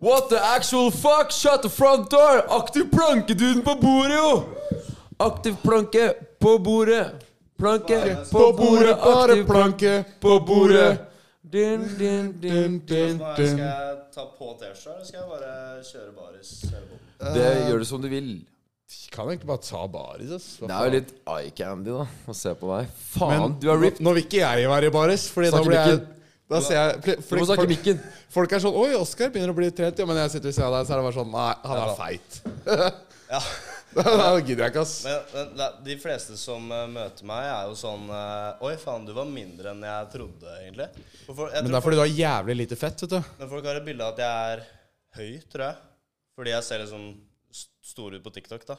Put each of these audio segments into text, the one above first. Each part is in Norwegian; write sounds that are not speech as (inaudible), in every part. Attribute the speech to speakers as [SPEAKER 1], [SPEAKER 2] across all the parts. [SPEAKER 1] What the actual fuck? Shut the front door! Aktiv plankeduden på bordet, jo! Aktiv planke på bordet. Planke på bordet. Aktiv planke på bordet. Din, din, din, din.
[SPEAKER 2] Spørsmålet er, Skal jeg ta på T-skjorta, eller skal jeg bare kjøre baris? hele båten?
[SPEAKER 1] Det gjør du som du vil.
[SPEAKER 3] Kan egentlig bare ta baris, ass. Hva
[SPEAKER 1] Det er
[SPEAKER 3] faen?
[SPEAKER 1] jo litt eye candy, da, å se på deg.
[SPEAKER 3] Men
[SPEAKER 1] Faen, du er ripped.
[SPEAKER 3] Nå, nå vil ikke jeg være i baris, Fordi da
[SPEAKER 1] Snakk i
[SPEAKER 3] blir jeg
[SPEAKER 1] mikken.
[SPEAKER 3] Da ser jeg fl-
[SPEAKER 1] Du må
[SPEAKER 3] folk-
[SPEAKER 1] snakke i mikken.
[SPEAKER 3] Folk er sånn Oi, Oskar begynner å bli trent, ja, men jeg sitter ved siden av deg, så er det bare sånn Nei, han er feit. (laughs)
[SPEAKER 2] Ja. (laughs)
[SPEAKER 3] da gidder jeg ikke, ass.
[SPEAKER 2] Men, men det er- de fleste som eh, møter meg, er jo sånn eh, Oi, faen, du var mindre enn jeg trodde, egentlig. For folk, jeg
[SPEAKER 3] Men
[SPEAKER 2] tror
[SPEAKER 3] det er fordi du har jævlig lite fett, vet du.
[SPEAKER 2] folk, men folk har et bilde av at jeg er høy, tror jeg. Fordi jeg ser liksom st- stor ut på TikTok, da.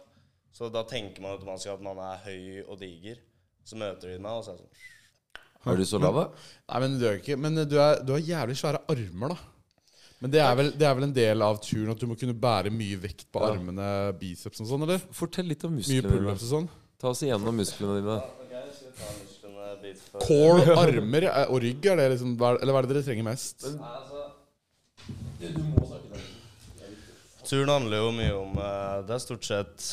[SPEAKER 2] Så da tenker man automatisk at man er høy og diger. Så møter de meg, og så er jeg sånn
[SPEAKER 1] Er du så lav, da?
[SPEAKER 3] Nei, men du er ikke Men du, er, du har jævlig svære armer, da. Men det er, vel, det er vel en del av turen at du må kunne bære mye vekt på armene, biceps og sånn, eller?
[SPEAKER 1] Fortell litt om
[SPEAKER 3] Mye
[SPEAKER 1] musklene dine.
[SPEAKER 3] pullups og sånn.
[SPEAKER 1] Ta oss igjennom musklene dine.
[SPEAKER 2] OK, skal vi ta musklene bit for
[SPEAKER 3] Core,
[SPEAKER 1] (laughs)
[SPEAKER 3] armer eh, og rygg, er det liksom hva er- Eller hva er det dere trenger mest?
[SPEAKER 2] Nei, altså Turen handler jo mye om eh, Det er stort sett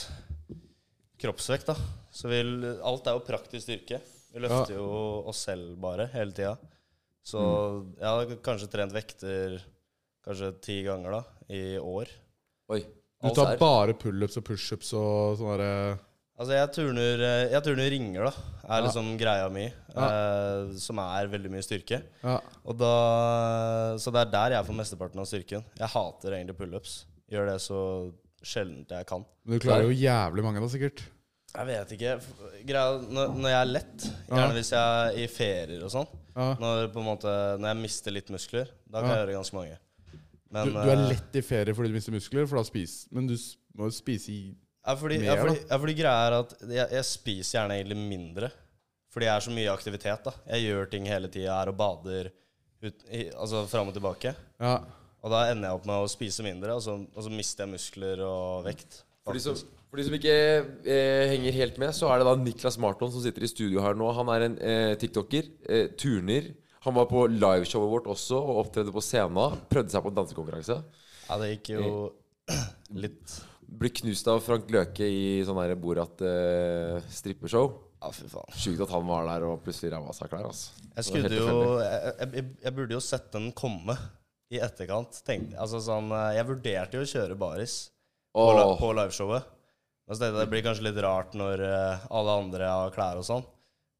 [SPEAKER 2] kroppsvekt, da. Så vi, l- alt er jo praktisk styrke. Vi løfter jo oss selv bare hele tida. Så jeg har k- kanskje trent vekter kanskje ti ganger da, i år.
[SPEAKER 1] Oi.
[SPEAKER 3] Du tar bare pullups og pushups og sånn derre
[SPEAKER 2] Altså, jeg turner, eh, jeg turner ringer, da. Er liksom greia mi. eh, som er veldig mye styrke.
[SPEAKER 3] ja.
[SPEAKER 2] Og da, så det er der jeg får mesteparten av styrken. Jeg hater egentlig pullups. Gjør det så sjeldent jeg kan.
[SPEAKER 3] Men du klarer jo jævlig mange, da, sikkert.
[SPEAKER 2] Jeg vet ikke. F- Greia, når, når jeg er lett, gjerne hvis jeg er i ferier og sånn
[SPEAKER 3] Ja.
[SPEAKER 2] når, på en måte, når jeg mister litt muskler, da kan jeg
[SPEAKER 3] Ja.
[SPEAKER 2] gjøre ganske mange.
[SPEAKER 3] Du,
[SPEAKER 2] Men,
[SPEAKER 3] du er
[SPEAKER 2] eh,
[SPEAKER 3] lett i ferie fordi du mister muskler, for da spiser Men du s- må jo spise i
[SPEAKER 2] Ja, fordi,
[SPEAKER 3] Mer,
[SPEAKER 2] ja, fordi, ja, fordi greia er at jeg, jeg spiser gjerne egentlig mindre. Fordi jeg er så mye i aktivitet. da. Jeg gjør ting hele tida, er og bader ut, i, altså fram og tilbake.
[SPEAKER 3] Ja.
[SPEAKER 2] Og da ender jeg opp med å spise mindre, og så, og så mister jeg muskler og vekt.
[SPEAKER 1] For de som, for de som ikke eh, henger helt med, så er det da Niklas Marton som sitter i studio her nå. Han er en eh, tiktoker. Eh, turner. Han var på liveshowet vårt også og opptredde på scenen. Prøvde seg på en dansekonkurranse.
[SPEAKER 2] Ja, det gikk jo (clears throat) litt
[SPEAKER 1] Ble knust av Frank Løke i sånn der Borat-strippeshow.
[SPEAKER 2] Ja, fy faen.
[SPEAKER 1] Sjukt at han var der og plutselig ræva seg klær. Altså. Det
[SPEAKER 2] Jeg
[SPEAKER 1] var helt
[SPEAKER 2] skulle jo
[SPEAKER 1] tilfeldig.
[SPEAKER 2] jeg, jeg, jeg burde jo sett den komme i etterkant. Tenkte, altså sånn, eh, jeg vurderte jo å kjøre baris på,
[SPEAKER 1] Åh.
[SPEAKER 2] li- på liveshowet. Men så tenkte jeg det blir kanskje litt rart når eh, alle andre har klær og sånn.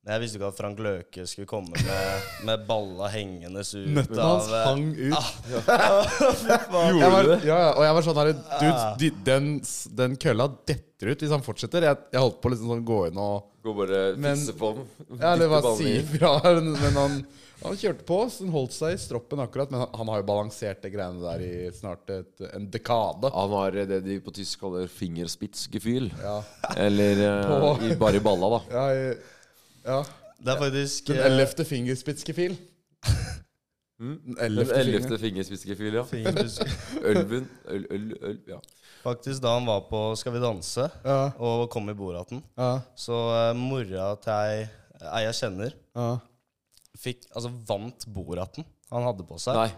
[SPEAKER 2] Men jeg visste ikke at Frank Løke skulle komme med, med balla hengende ut
[SPEAKER 3] Nøttene
[SPEAKER 2] av
[SPEAKER 3] hans
[SPEAKER 2] eh,
[SPEAKER 3] hang ut.
[SPEAKER 2] (laughs)
[SPEAKER 1] Gjorde
[SPEAKER 3] Jeg var,
[SPEAKER 1] du det?
[SPEAKER 3] ja, ja, og jeg var sånn her Dude,
[SPEAKER 2] Ah.
[SPEAKER 3] de, den, s- den kølla detter ut hvis han fortsetter. Jeg, jeg holdt på å liksom sånn gå inn og
[SPEAKER 1] Gå bare
[SPEAKER 3] Men-
[SPEAKER 1] fikse på den.
[SPEAKER 3] Ja, Eller
[SPEAKER 1] Dytte
[SPEAKER 3] hva
[SPEAKER 1] ballen
[SPEAKER 3] si
[SPEAKER 1] i.
[SPEAKER 3] ifra. Men han, han kjørte på, så den holdt seg i stroppen akkurat. Men han, han har jo balansert det greiene der i snart et, en dekade.
[SPEAKER 1] Han har det de på tysk kaller fingerspitzgefühl.
[SPEAKER 3] Ja.
[SPEAKER 1] Eller eh,
[SPEAKER 3] På-
[SPEAKER 1] i, bare i balla, da.
[SPEAKER 3] Ja, jeg- ja.
[SPEAKER 2] Det er faktisk
[SPEAKER 3] Den
[SPEAKER 2] eh,
[SPEAKER 3] ellevte fingerspitzgefühl. Den
[SPEAKER 1] Mm. Den
[SPEAKER 3] ellevte finger.
[SPEAKER 1] ellevte fingerspitzgefühl, ja.
[SPEAKER 2] fint.
[SPEAKER 1] Ølven. Øl, øl, øl, ja.
[SPEAKER 2] (laughs) Faktisk da han var på Skal vi danse
[SPEAKER 3] Ja,
[SPEAKER 2] og kom i Boraten,
[SPEAKER 3] ja,
[SPEAKER 2] så eh, mora til ei, ei eh, jeg kjenner,
[SPEAKER 3] ja.
[SPEAKER 2] fikk, altså vant Boraten han hadde på seg,
[SPEAKER 1] Nei.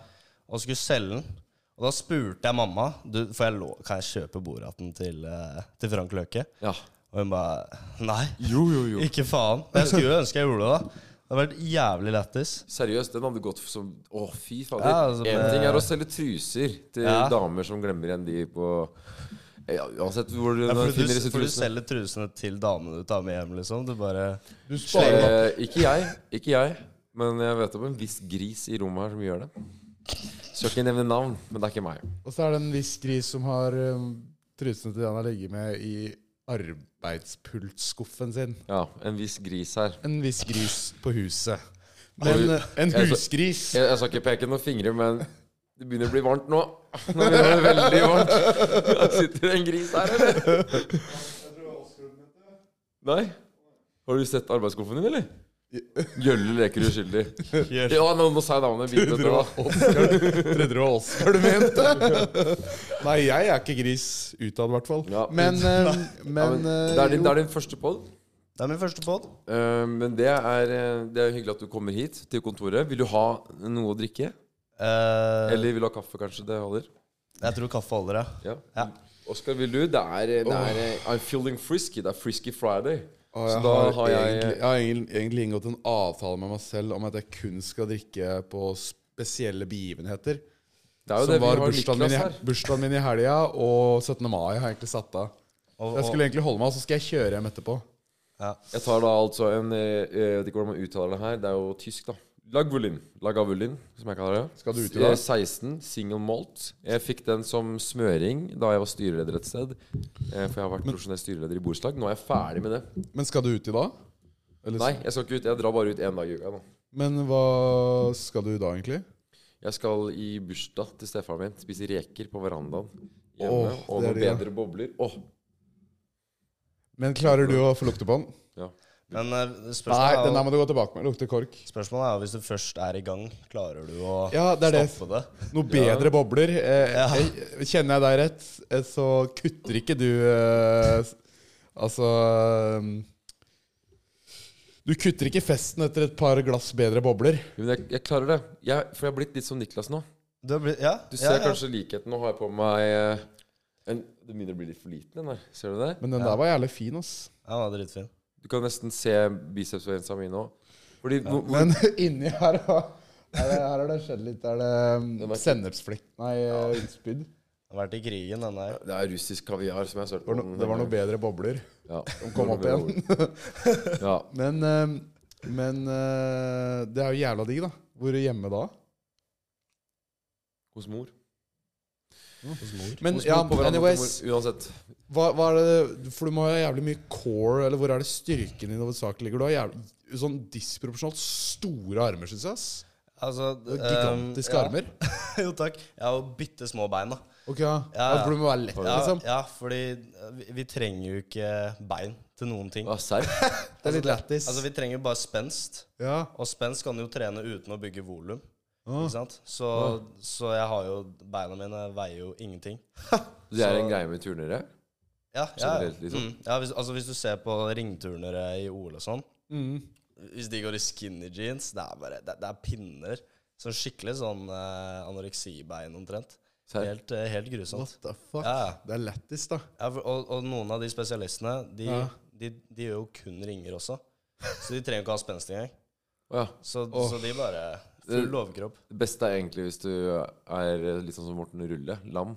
[SPEAKER 2] og skulle selge den. Og da spurte jeg mamma du, får jeg lov, kan jeg kjøpe Boraten til, eh, til Frank Løke.
[SPEAKER 1] Ja.
[SPEAKER 2] Og hun bare nei,
[SPEAKER 1] Jo, jo, jo.
[SPEAKER 2] ikke faen. Men jeg skulle jo ønske jeg gjorde det, da. Det hadde vært jævlig lættis.
[SPEAKER 1] Seriøst, den hadde gått som Å, fy fader.
[SPEAKER 2] Ja, altså,
[SPEAKER 1] en
[SPEAKER 2] men-
[SPEAKER 1] ting er å selge truser til
[SPEAKER 2] Ja.
[SPEAKER 1] damer som glemmer igjen de på ja, Uansett hvor du
[SPEAKER 2] Ja, for,
[SPEAKER 1] finner
[SPEAKER 2] du,
[SPEAKER 1] disse
[SPEAKER 2] for du
[SPEAKER 1] trusene.
[SPEAKER 2] selger trusene til damene du tar med hjem, liksom. Du bare
[SPEAKER 3] Du sparer opp.
[SPEAKER 1] Eh, ikke jeg. Ikke jeg. Men jeg vet om en viss gris i rommet her som gjør det. Skal ikke nevne navn, men det er ikke meg.
[SPEAKER 3] Og så er det en viss gris som har um, trusene til den han har ligget med i arbeidspultskuffen sin.
[SPEAKER 1] Ja, En viss gris her.
[SPEAKER 3] En viss gris på huset. Men eh, en
[SPEAKER 1] Jeg så-
[SPEAKER 3] husgris.
[SPEAKER 1] Jeg, jeg skal ikke peke noen fingre, men det begynner å bli varmt nå. Nå begynner det å bli veldig varmt. Der sitter det en gris her, eller? Nei? Har du sett arbeidsskuffen din, eller? Gjølle leker uskyldig.
[SPEAKER 2] (laughs)
[SPEAKER 1] Ja, nå, nå sa jeg navnet. Bit,
[SPEAKER 3] Trodde det var Oscar- trodde det var Oscar du mente?
[SPEAKER 2] (laughs)
[SPEAKER 3] Nei, jeg er ikke gris utad, i hvert fall.
[SPEAKER 1] Ja.
[SPEAKER 3] Men, eh,
[SPEAKER 1] ja,
[SPEAKER 3] men
[SPEAKER 1] men,
[SPEAKER 3] eh,
[SPEAKER 1] det, er din,
[SPEAKER 3] jo.
[SPEAKER 1] det er din første pod.
[SPEAKER 2] Det er min første pod.
[SPEAKER 1] men det er, eh, det er jo hyggelig at du kommer hit til kontoret. Vil du ha noe å drikke?
[SPEAKER 2] Eh,
[SPEAKER 1] Eller vil du ha kaffe, kanskje? Det holder.
[SPEAKER 2] Jeg tror kaffe holder, ja.
[SPEAKER 1] Ja.
[SPEAKER 2] ja.
[SPEAKER 1] Oskar, vil du? Det er, det er I'm feeling frisky. Det er Frisky Friday.
[SPEAKER 3] Og
[SPEAKER 1] Så
[SPEAKER 3] jeg,
[SPEAKER 1] da
[SPEAKER 3] har
[SPEAKER 1] har jeg
[SPEAKER 3] egentlig, jeg har egentlig- egentlig inngått en avtale med meg selv om at jeg kun skal drikke på spesielle begivenheter.
[SPEAKER 1] Det er jo
[SPEAKER 3] Som
[SPEAKER 1] det vi
[SPEAKER 3] var
[SPEAKER 1] har
[SPEAKER 3] bursdagen min,
[SPEAKER 1] Niklas her.
[SPEAKER 3] i- bursdagen min i helga og 17. mai har jeg egentlig satt av.
[SPEAKER 2] Og,
[SPEAKER 3] Jeg
[SPEAKER 2] og,
[SPEAKER 3] skulle egentlig holde meg, og så skal jeg kjøre hjem etterpå.
[SPEAKER 2] ja.
[SPEAKER 1] Jeg tar da altså en eh, Jeg vet ikke hvordan man uttaler det her. Det er jo tysk, da. Lagavulin. Lagavulin, som jeg kaller det.
[SPEAKER 3] Skal du ut i
[SPEAKER 1] Eh,
[SPEAKER 3] dag?
[SPEAKER 1] 16, single malt. Jeg fikk den som smøring da jeg var styreleder et sted. eh, For jeg har vært profesjonell styreleder i borettslag. Nå er jeg ferdig med det.
[SPEAKER 3] Men skal du ut i dag? Eller,
[SPEAKER 1] Nei, jeg skal ikke ut. Jeg drar bare ut én dag i uka. nå.
[SPEAKER 3] Men hva skal du i dag, egentlig?
[SPEAKER 1] Jeg skal i bursdag til stefaren min spise reker på verandaen hjemme.
[SPEAKER 3] Åh,
[SPEAKER 1] og
[SPEAKER 3] det
[SPEAKER 1] noen
[SPEAKER 3] er det, ja.
[SPEAKER 1] bedre bobler. Åh,
[SPEAKER 3] Men klarer du å få lukte på den?
[SPEAKER 2] Men eh,
[SPEAKER 3] Nei,
[SPEAKER 2] spørsmålet
[SPEAKER 3] den der
[SPEAKER 2] er,
[SPEAKER 3] må du gå tilbake med. Lukter kork.
[SPEAKER 2] jo, spørsmålet er jo hvis du først er i gang, klarer du å
[SPEAKER 3] Ja, det er det.
[SPEAKER 2] stoppe det?
[SPEAKER 3] Noe bedre bobler. Eh,
[SPEAKER 2] Ja.
[SPEAKER 3] eh, Kjenner jeg deg rett, eh, så kutter ikke du eh, s- Altså eh, Du kutter ikke festen etter et par glass bedre bobler.
[SPEAKER 1] men jeg, jeg klarer det. Jeg, for jeg har blitt litt som Niklas nå.
[SPEAKER 2] Du, har blitt- ja,
[SPEAKER 1] Du
[SPEAKER 2] ja,
[SPEAKER 1] ser
[SPEAKER 2] ja.
[SPEAKER 1] kanskje likheten. Nå har jeg på meg eh, en Det begynner å bli litt for liten, den der. Ser du det?
[SPEAKER 3] Men den der var jævlig fin, ass.
[SPEAKER 2] Ja, den var dritfin.
[SPEAKER 1] Du kan nesten se bicepsvensa mi nå. Fordi hvor- hvor-
[SPEAKER 3] Men (laughs) inni her har- er det, her har det skjedd litt. Er det um, sennepsflekk Nei, eh, innspydd.
[SPEAKER 2] Den har vært i krigen, den der.
[SPEAKER 1] Det er russisk kaviar som jeg har sølt
[SPEAKER 3] Det var no- Det var noe bedre bobler
[SPEAKER 1] Ja.
[SPEAKER 3] som kom opp igjen.
[SPEAKER 1] ja.
[SPEAKER 3] (laughs) Men, eh, men eh, det er jo jævla digg, da. Hvor hjemme da?
[SPEAKER 1] Hos mor.
[SPEAKER 2] Hos mor.
[SPEAKER 3] Men
[SPEAKER 1] Hos mor
[SPEAKER 3] ja,
[SPEAKER 1] på verandaen til
[SPEAKER 3] anyways
[SPEAKER 1] mor, uansett.
[SPEAKER 3] Hva, hva er det, for du må ha jævlig mye core, eller hvor er det styrken din hovedsakelig ligger? Du har jævlig sånn disproporsjonalt store armer, syns jeg. ass.
[SPEAKER 2] Altså,
[SPEAKER 3] Det er Gigantiske
[SPEAKER 2] ehm,
[SPEAKER 3] armer.
[SPEAKER 2] Ja. (laughs) Jo, takk. Jeg har jo bitte små bein, da.
[SPEAKER 3] Ok, ja. ja,
[SPEAKER 2] Ja, ja.
[SPEAKER 3] For du må være lett,
[SPEAKER 2] Ja,
[SPEAKER 3] liksom.
[SPEAKER 2] ja fordi eh, vi, vi trenger jo ikke bein til noen ting.
[SPEAKER 1] Ja, serr?
[SPEAKER 3] Det er litt lættis.
[SPEAKER 2] Altså, vi trenger jo bare spenst.
[SPEAKER 3] Ja.
[SPEAKER 2] Og spenst kan du jo trene uten å bygge volum.
[SPEAKER 3] Ah.
[SPEAKER 2] Ikke sant? Så, så jeg har jo Beina mine veier jo ingenting.
[SPEAKER 1] Det er en greie med turnere?
[SPEAKER 2] Ja, ja, ja.
[SPEAKER 1] Generelt, liksom.
[SPEAKER 2] Mm. ja hvis, altså, hvis du ser på ringturnere i OL og sånn
[SPEAKER 3] Mm.
[SPEAKER 2] Hvis de går i skinny jeans, det er bare Det, det er pinner. Sånn skikkelig sånn eh, anoreksibein omtrent.
[SPEAKER 1] Serr?
[SPEAKER 2] Helt, eh, helt grusomt.
[SPEAKER 3] What the fuck?
[SPEAKER 2] Ja, ja.
[SPEAKER 3] Det er lættis, da.
[SPEAKER 2] Ja, for, og, og noen av de spesialistene, de,
[SPEAKER 3] Ja.
[SPEAKER 2] de, de gjør jo kun ringer også. Så de trenger ikke ha spenst engang.
[SPEAKER 1] Å ja.
[SPEAKER 2] Så,
[SPEAKER 3] Åh.
[SPEAKER 2] så de bare Full overkropp.
[SPEAKER 1] Det beste er egentlig hvis du er litt sånn som Morten Rulle, lam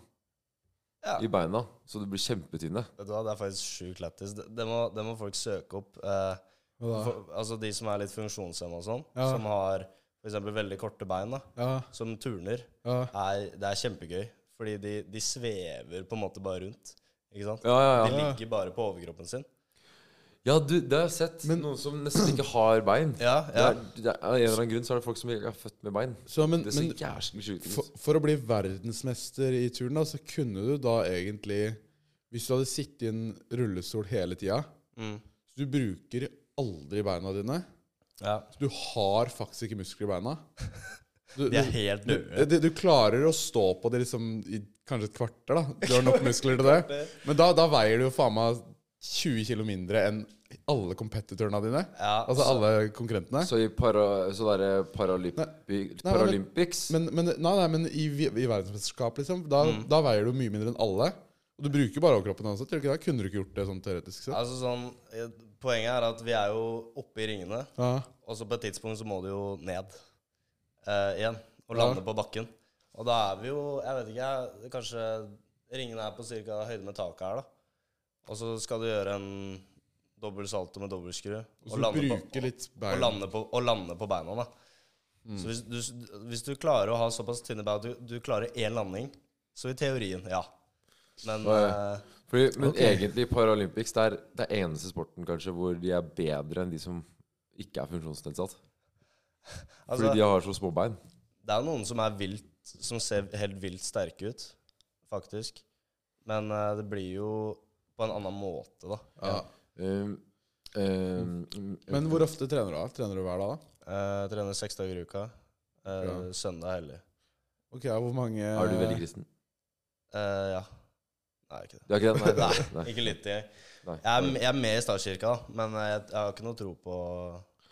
[SPEAKER 2] Ja.
[SPEAKER 1] i beina, så du blir kjempetynne.
[SPEAKER 2] Vet du hva, det er faktisk sjukt lættis. Det, det, må- det må folk søke opp. Eh,
[SPEAKER 3] Hva da?
[SPEAKER 2] for, altså de som er litt funksjonshemma og sånn,
[SPEAKER 3] Ja.
[SPEAKER 2] som har f.eks. veldig korte bein, da,
[SPEAKER 3] Ja,
[SPEAKER 2] som turner,
[SPEAKER 3] ja.
[SPEAKER 2] er, det er kjempegøy. Fordi de, de svever på en måte bare rundt. Ikke sant?
[SPEAKER 1] Ja, ja,
[SPEAKER 2] De
[SPEAKER 1] ja.
[SPEAKER 2] ligger bare på overkroppen sin.
[SPEAKER 1] Ja, du, det har jeg sett.
[SPEAKER 3] Men-
[SPEAKER 1] Noen som nesten ikke har bein.
[SPEAKER 2] Ja, ja.
[SPEAKER 1] Det er, det er, av en eller annen grunn så er det folk som ikke er født med bein.
[SPEAKER 3] Så, men,
[SPEAKER 1] Det ser
[SPEAKER 3] men
[SPEAKER 1] jævlig sjukt
[SPEAKER 3] for,
[SPEAKER 1] ut.
[SPEAKER 3] for å bli verdensmester i turen, da, så kunne du da egentlig Hvis du hadde sittet i en rullestol hele tida,
[SPEAKER 2] Mm.
[SPEAKER 3] så du bruker aldri beina dine
[SPEAKER 2] ja.
[SPEAKER 3] Du har faktisk ikke muskler i beina. Du,
[SPEAKER 2] De er
[SPEAKER 3] du,
[SPEAKER 2] helt
[SPEAKER 3] du,
[SPEAKER 2] døde.
[SPEAKER 3] du, du klarer å stå på det liksom i kanskje et kvarter, da. Du har nok muskler til det. Men da, da veier du jo faen meg 20 kg mindre enn alle competitorene dine.
[SPEAKER 2] Ja,
[SPEAKER 3] Altså alle konkurrentene.
[SPEAKER 1] Så i para, så der er paralympi,
[SPEAKER 3] nei,
[SPEAKER 1] Paralympics
[SPEAKER 3] Men, men, nei, nei, men i, vi- i verdensmesterskap, liksom, da, da veier du mye mindre enn alle. Og du bruker bare overkroppen uansett. gjør du ikke det? Kunne du ikke gjort det sånn teoretisk sett?
[SPEAKER 2] Altså sånn, eh, Poenget er at vi er jo oppe i ringene,
[SPEAKER 3] Ja.
[SPEAKER 2] og så på et tidspunkt så må du jo ned eh, igjen. Og lande på bakken. Og da er vi jo, jeg vet ikke, jeg- kanskje ringene er på ca. høyde med taket her, da. Og så skal du gjøre en dobbel salto med dobbeltskru.
[SPEAKER 3] Og så du bruker litt
[SPEAKER 2] og
[SPEAKER 3] bein.
[SPEAKER 2] lande på, og lande på beina, da.
[SPEAKER 1] Mm.
[SPEAKER 2] Så hvis du, hvis du klarer å ha såpass tynne bein at du, du klarer én landing, så i teorien, ja. Men
[SPEAKER 1] Ja,
[SPEAKER 2] eh,
[SPEAKER 1] Fordi, Men
[SPEAKER 3] Ok.
[SPEAKER 1] egentlig Paralympics det er det er eneste sporten kanskje hvor de er bedre enn de som ikke er funksjonsnedsatt. Fordi
[SPEAKER 2] altså,
[SPEAKER 1] de har så små bein.
[SPEAKER 2] Det er jo noen som er vilt, som ser helt vilt sterke ut, faktisk. Men eh, det blir jo på en annen måte, da.
[SPEAKER 3] Ja.
[SPEAKER 1] Um, um,
[SPEAKER 3] Men hvor ofte trener du? da? Trener du hver dag? da?
[SPEAKER 2] Eh, trener seks dager i uka. eh,
[SPEAKER 3] Ja.
[SPEAKER 2] Søndag hellig.
[SPEAKER 3] Ok, ja, hvor mange
[SPEAKER 1] Er du veldig kristen?
[SPEAKER 2] Eh, ja. Nei, ikke det.
[SPEAKER 1] Du er ikke det? Nei. nei,
[SPEAKER 2] Ikke litt engang.
[SPEAKER 1] nei.
[SPEAKER 2] Jeg er, jeg er med i statskirka, da, men eh, jeg, jeg har ikke noe tro på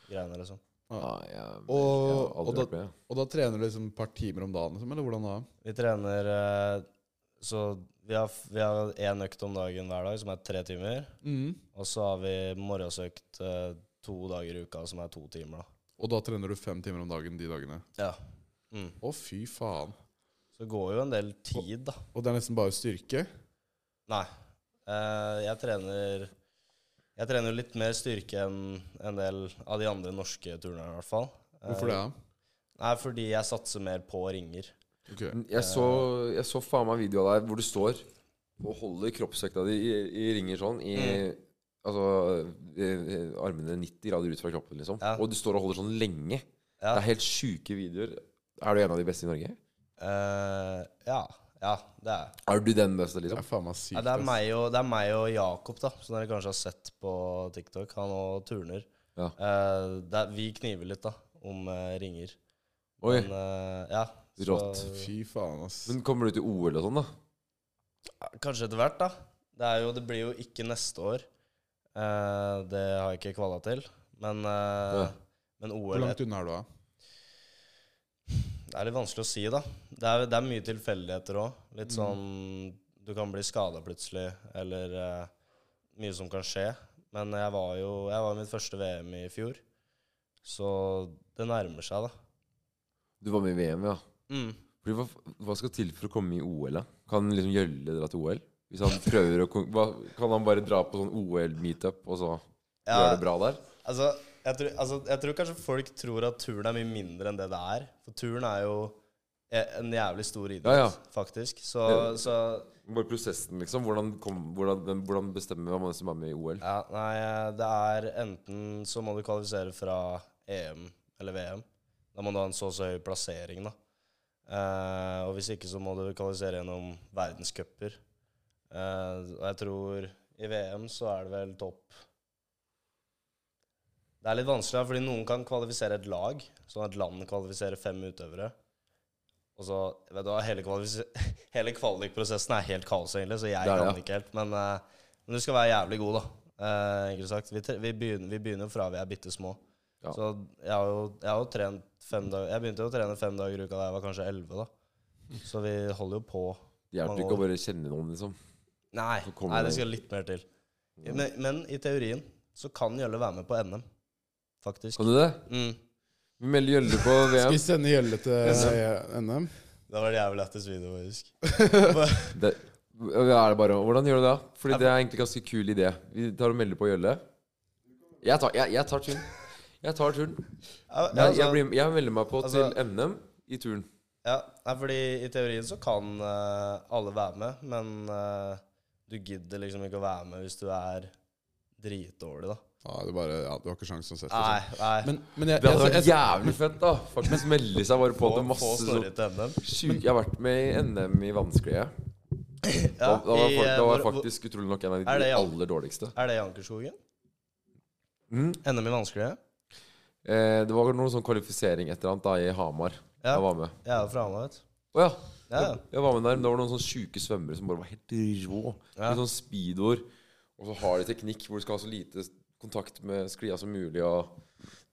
[SPEAKER 2] greiene, liksom.
[SPEAKER 1] Ja, jeg, jeg
[SPEAKER 3] Og-
[SPEAKER 1] har aldri
[SPEAKER 3] og da-
[SPEAKER 1] vært med.
[SPEAKER 3] Og da trener du liksom et par timer om dagen, liksom, eller hvordan da?
[SPEAKER 2] Vi trener eh, Så vi har vi har én økt om dagen hver dag, som er tre timer.
[SPEAKER 3] Mm.
[SPEAKER 2] Og så har vi morgensøkt eh, to dager i uka, som er to timer, da.
[SPEAKER 3] Og da trener du fem timer om dagen de dagene.
[SPEAKER 2] Ja. Mm.
[SPEAKER 3] Å, fy faen.
[SPEAKER 2] Så det går jo en del tid, da.
[SPEAKER 3] Og det er nesten bare styrke?
[SPEAKER 2] Nei. Eh, jeg trener Jeg trener jo litt mer styrke enn en del av de andre norske turnerne, i hvert fall. Eh,
[SPEAKER 3] Hvorfor det?
[SPEAKER 2] Nei, fordi jeg satser mer på ringer.
[SPEAKER 3] Ok.
[SPEAKER 1] Mm, Jeg så, jeg så faen meg video av deg hvor du står og holder kroppsvekta di i, i ringer sånn i Altså eh, armene 90 grader ut fra kroppen, liksom.
[SPEAKER 2] Ja.
[SPEAKER 1] Og du står og holder sånn lenge.
[SPEAKER 2] Ja.
[SPEAKER 1] Det er helt sjuke videoer. Er du en av de beste i Norge?
[SPEAKER 2] Eh, ja. Ja, det er jeg.
[SPEAKER 1] Er du den beste,
[SPEAKER 3] Det
[SPEAKER 1] liksom?
[SPEAKER 3] er faen meg sykt.
[SPEAKER 2] Ja, det, er
[SPEAKER 3] ass.
[SPEAKER 2] meg og, det er meg og Jakob, da, som dere kanskje har sett på TikTok. Han og turner.
[SPEAKER 1] Ja.
[SPEAKER 2] Eh, det er, vi kniver litt, da, om eh, ringer.
[SPEAKER 1] Oi.
[SPEAKER 2] Men, eh, ja, så-
[SPEAKER 1] Rått.
[SPEAKER 3] Fy faen, ass.
[SPEAKER 1] Men kommer du til OL og sånn, da?
[SPEAKER 2] Kanskje etter hvert, da. Det, er jo, det blir jo ikke neste år. Eh, det har jeg ikke kvala til. Men, eh,
[SPEAKER 1] Ja.
[SPEAKER 2] men
[SPEAKER 3] Hvor
[SPEAKER 2] OL
[SPEAKER 3] langt unna er du, da?
[SPEAKER 2] Det er litt vanskelig å si, da. Det er, det er mye tilfeldigheter òg. Litt sånn Du kan bli skada plutselig, eller eh, mye som kan skje. Men jeg var jo Jeg var i mitt første VM i fjor, så det nærmer seg, da.
[SPEAKER 1] Du var med i VM, ja.
[SPEAKER 2] Mm.
[SPEAKER 1] Fordi hva, hva skal til for å komme i OL, da? Kan liksom Gjølle dra til OL? Hvis han prøver å kon- hva, Kan han bare dra på sånn OL-meetup, og så
[SPEAKER 2] Ja.
[SPEAKER 1] gjøre det bra der?
[SPEAKER 2] Altså, jeg tror, altså, jeg tror kanskje folk tror at turn er mye mindre enn det det er. For turn er jo e- en jævlig stor idrett,
[SPEAKER 1] Ja, ja.
[SPEAKER 2] faktisk. Så,
[SPEAKER 1] Ja.
[SPEAKER 2] så
[SPEAKER 1] Bare prosessen, liksom. Hvordan, kom, hvordan, den- hvordan bestemmer man hvem som er med i OL?
[SPEAKER 2] ja, Nei, det er enten så må du kvalifisere fra EM eller VM. Da må du ha en så og så høy plassering, da. Eh, og hvis ikke så må du kvalifisere gjennom verdenscuper. Eh, og jeg tror i VM så er det vel topp Det er litt vanskelig, da, fordi noen kan kvalifisere et lag, sånn at land kvalifiserer fem utøvere. Og så, vet du hva, Hele, kvalifis- (laughs) hele kvalikprosessen er helt kaos, egentlig, så jeg
[SPEAKER 1] Det er det,
[SPEAKER 2] kan
[SPEAKER 1] ja.
[SPEAKER 2] ikke helt. Men, eh, men du skal være jævlig god, da. Eh, enkelt sagt. Vi, tre- vi begynner, vi begynner fra vi er bitte små.
[SPEAKER 1] Ja.
[SPEAKER 2] Så jeg har jo, jeg har jo trent fem dager Jeg begynte jo å trene fem dager i uka da jeg var kanskje elleve, da. Så vi holder jo på.
[SPEAKER 1] Det hjelper
[SPEAKER 2] mange
[SPEAKER 1] ikke å
[SPEAKER 2] år.
[SPEAKER 1] bare kjenne noen, liksom.
[SPEAKER 2] Nei,
[SPEAKER 1] Så kommer
[SPEAKER 2] nei, det
[SPEAKER 1] det-
[SPEAKER 2] skal litt mer til. Men, men i teorien så kan Jølle være med på NM, faktisk.
[SPEAKER 1] Kan du det?
[SPEAKER 2] Mm.
[SPEAKER 1] Vi melder Gjølle
[SPEAKER 2] (laughs)
[SPEAKER 1] på
[SPEAKER 3] Skal
[SPEAKER 1] VM.
[SPEAKER 3] vi sende Gjelle til eh, NM?
[SPEAKER 2] Det var det jævlig lættis video, faktisk.
[SPEAKER 1] Det, er det bare, hvordan gjør du det? da? Fordi det er egentlig en ganske kul idé. Vi tar og melder på Gjølle. Jeg tar, jeg, jeg tar turen. Jeg tar turen.
[SPEAKER 2] Ja,
[SPEAKER 1] Jeg,
[SPEAKER 2] altså,
[SPEAKER 1] jeg, blir, jeg melder meg på til
[SPEAKER 2] altså-
[SPEAKER 1] NM i turn.
[SPEAKER 2] ja, nei, fordi i teorien så kan eh, alle være med, men eh, du gidder liksom ikke å være med hvis du er dritdårlig, da.
[SPEAKER 3] Ja, du, bare, ja, du har ikke sjans uansett.
[SPEAKER 2] Nei,
[SPEAKER 3] Liksom.
[SPEAKER 2] nei.
[SPEAKER 3] Men, men jeg,
[SPEAKER 1] Det
[SPEAKER 3] jeg,
[SPEAKER 1] hadde
[SPEAKER 3] jeg,
[SPEAKER 1] vært jævlig fett, da. Faktisk melde seg bare på
[SPEAKER 2] få,
[SPEAKER 1] til masse
[SPEAKER 2] få
[SPEAKER 1] sånn
[SPEAKER 2] story til NM.
[SPEAKER 1] sju- Jeg har vært med i NM i vannsklie. Da,
[SPEAKER 2] Ja,
[SPEAKER 1] da, var jeg fak- da
[SPEAKER 2] i, eh,
[SPEAKER 1] var jeg
[SPEAKER 2] hvor- hvor-
[SPEAKER 1] faktisk utrolig nok en av
[SPEAKER 2] Er
[SPEAKER 1] de
[SPEAKER 2] det, ja?
[SPEAKER 1] aller dårligste.
[SPEAKER 2] Er det i Ankerskogen?
[SPEAKER 1] Mm.
[SPEAKER 2] NM i vanskelige?
[SPEAKER 1] Eh, det var noen sånn kvalifisering et eller annet da i Hamar.
[SPEAKER 2] Ja.
[SPEAKER 1] Jeg var med.
[SPEAKER 2] Jeg er jo fra Hamar, vet du.
[SPEAKER 1] Å ja.
[SPEAKER 2] Ja, ja.
[SPEAKER 1] Jeg var med der, men det var noen sånne sjuke svømmere som bare var helt rå.
[SPEAKER 2] Ja.
[SPEAKER 1] Med sånn speedoer. Og så har de teknikk hvor du skal ha så lite kontakt med sklia som mulig. Og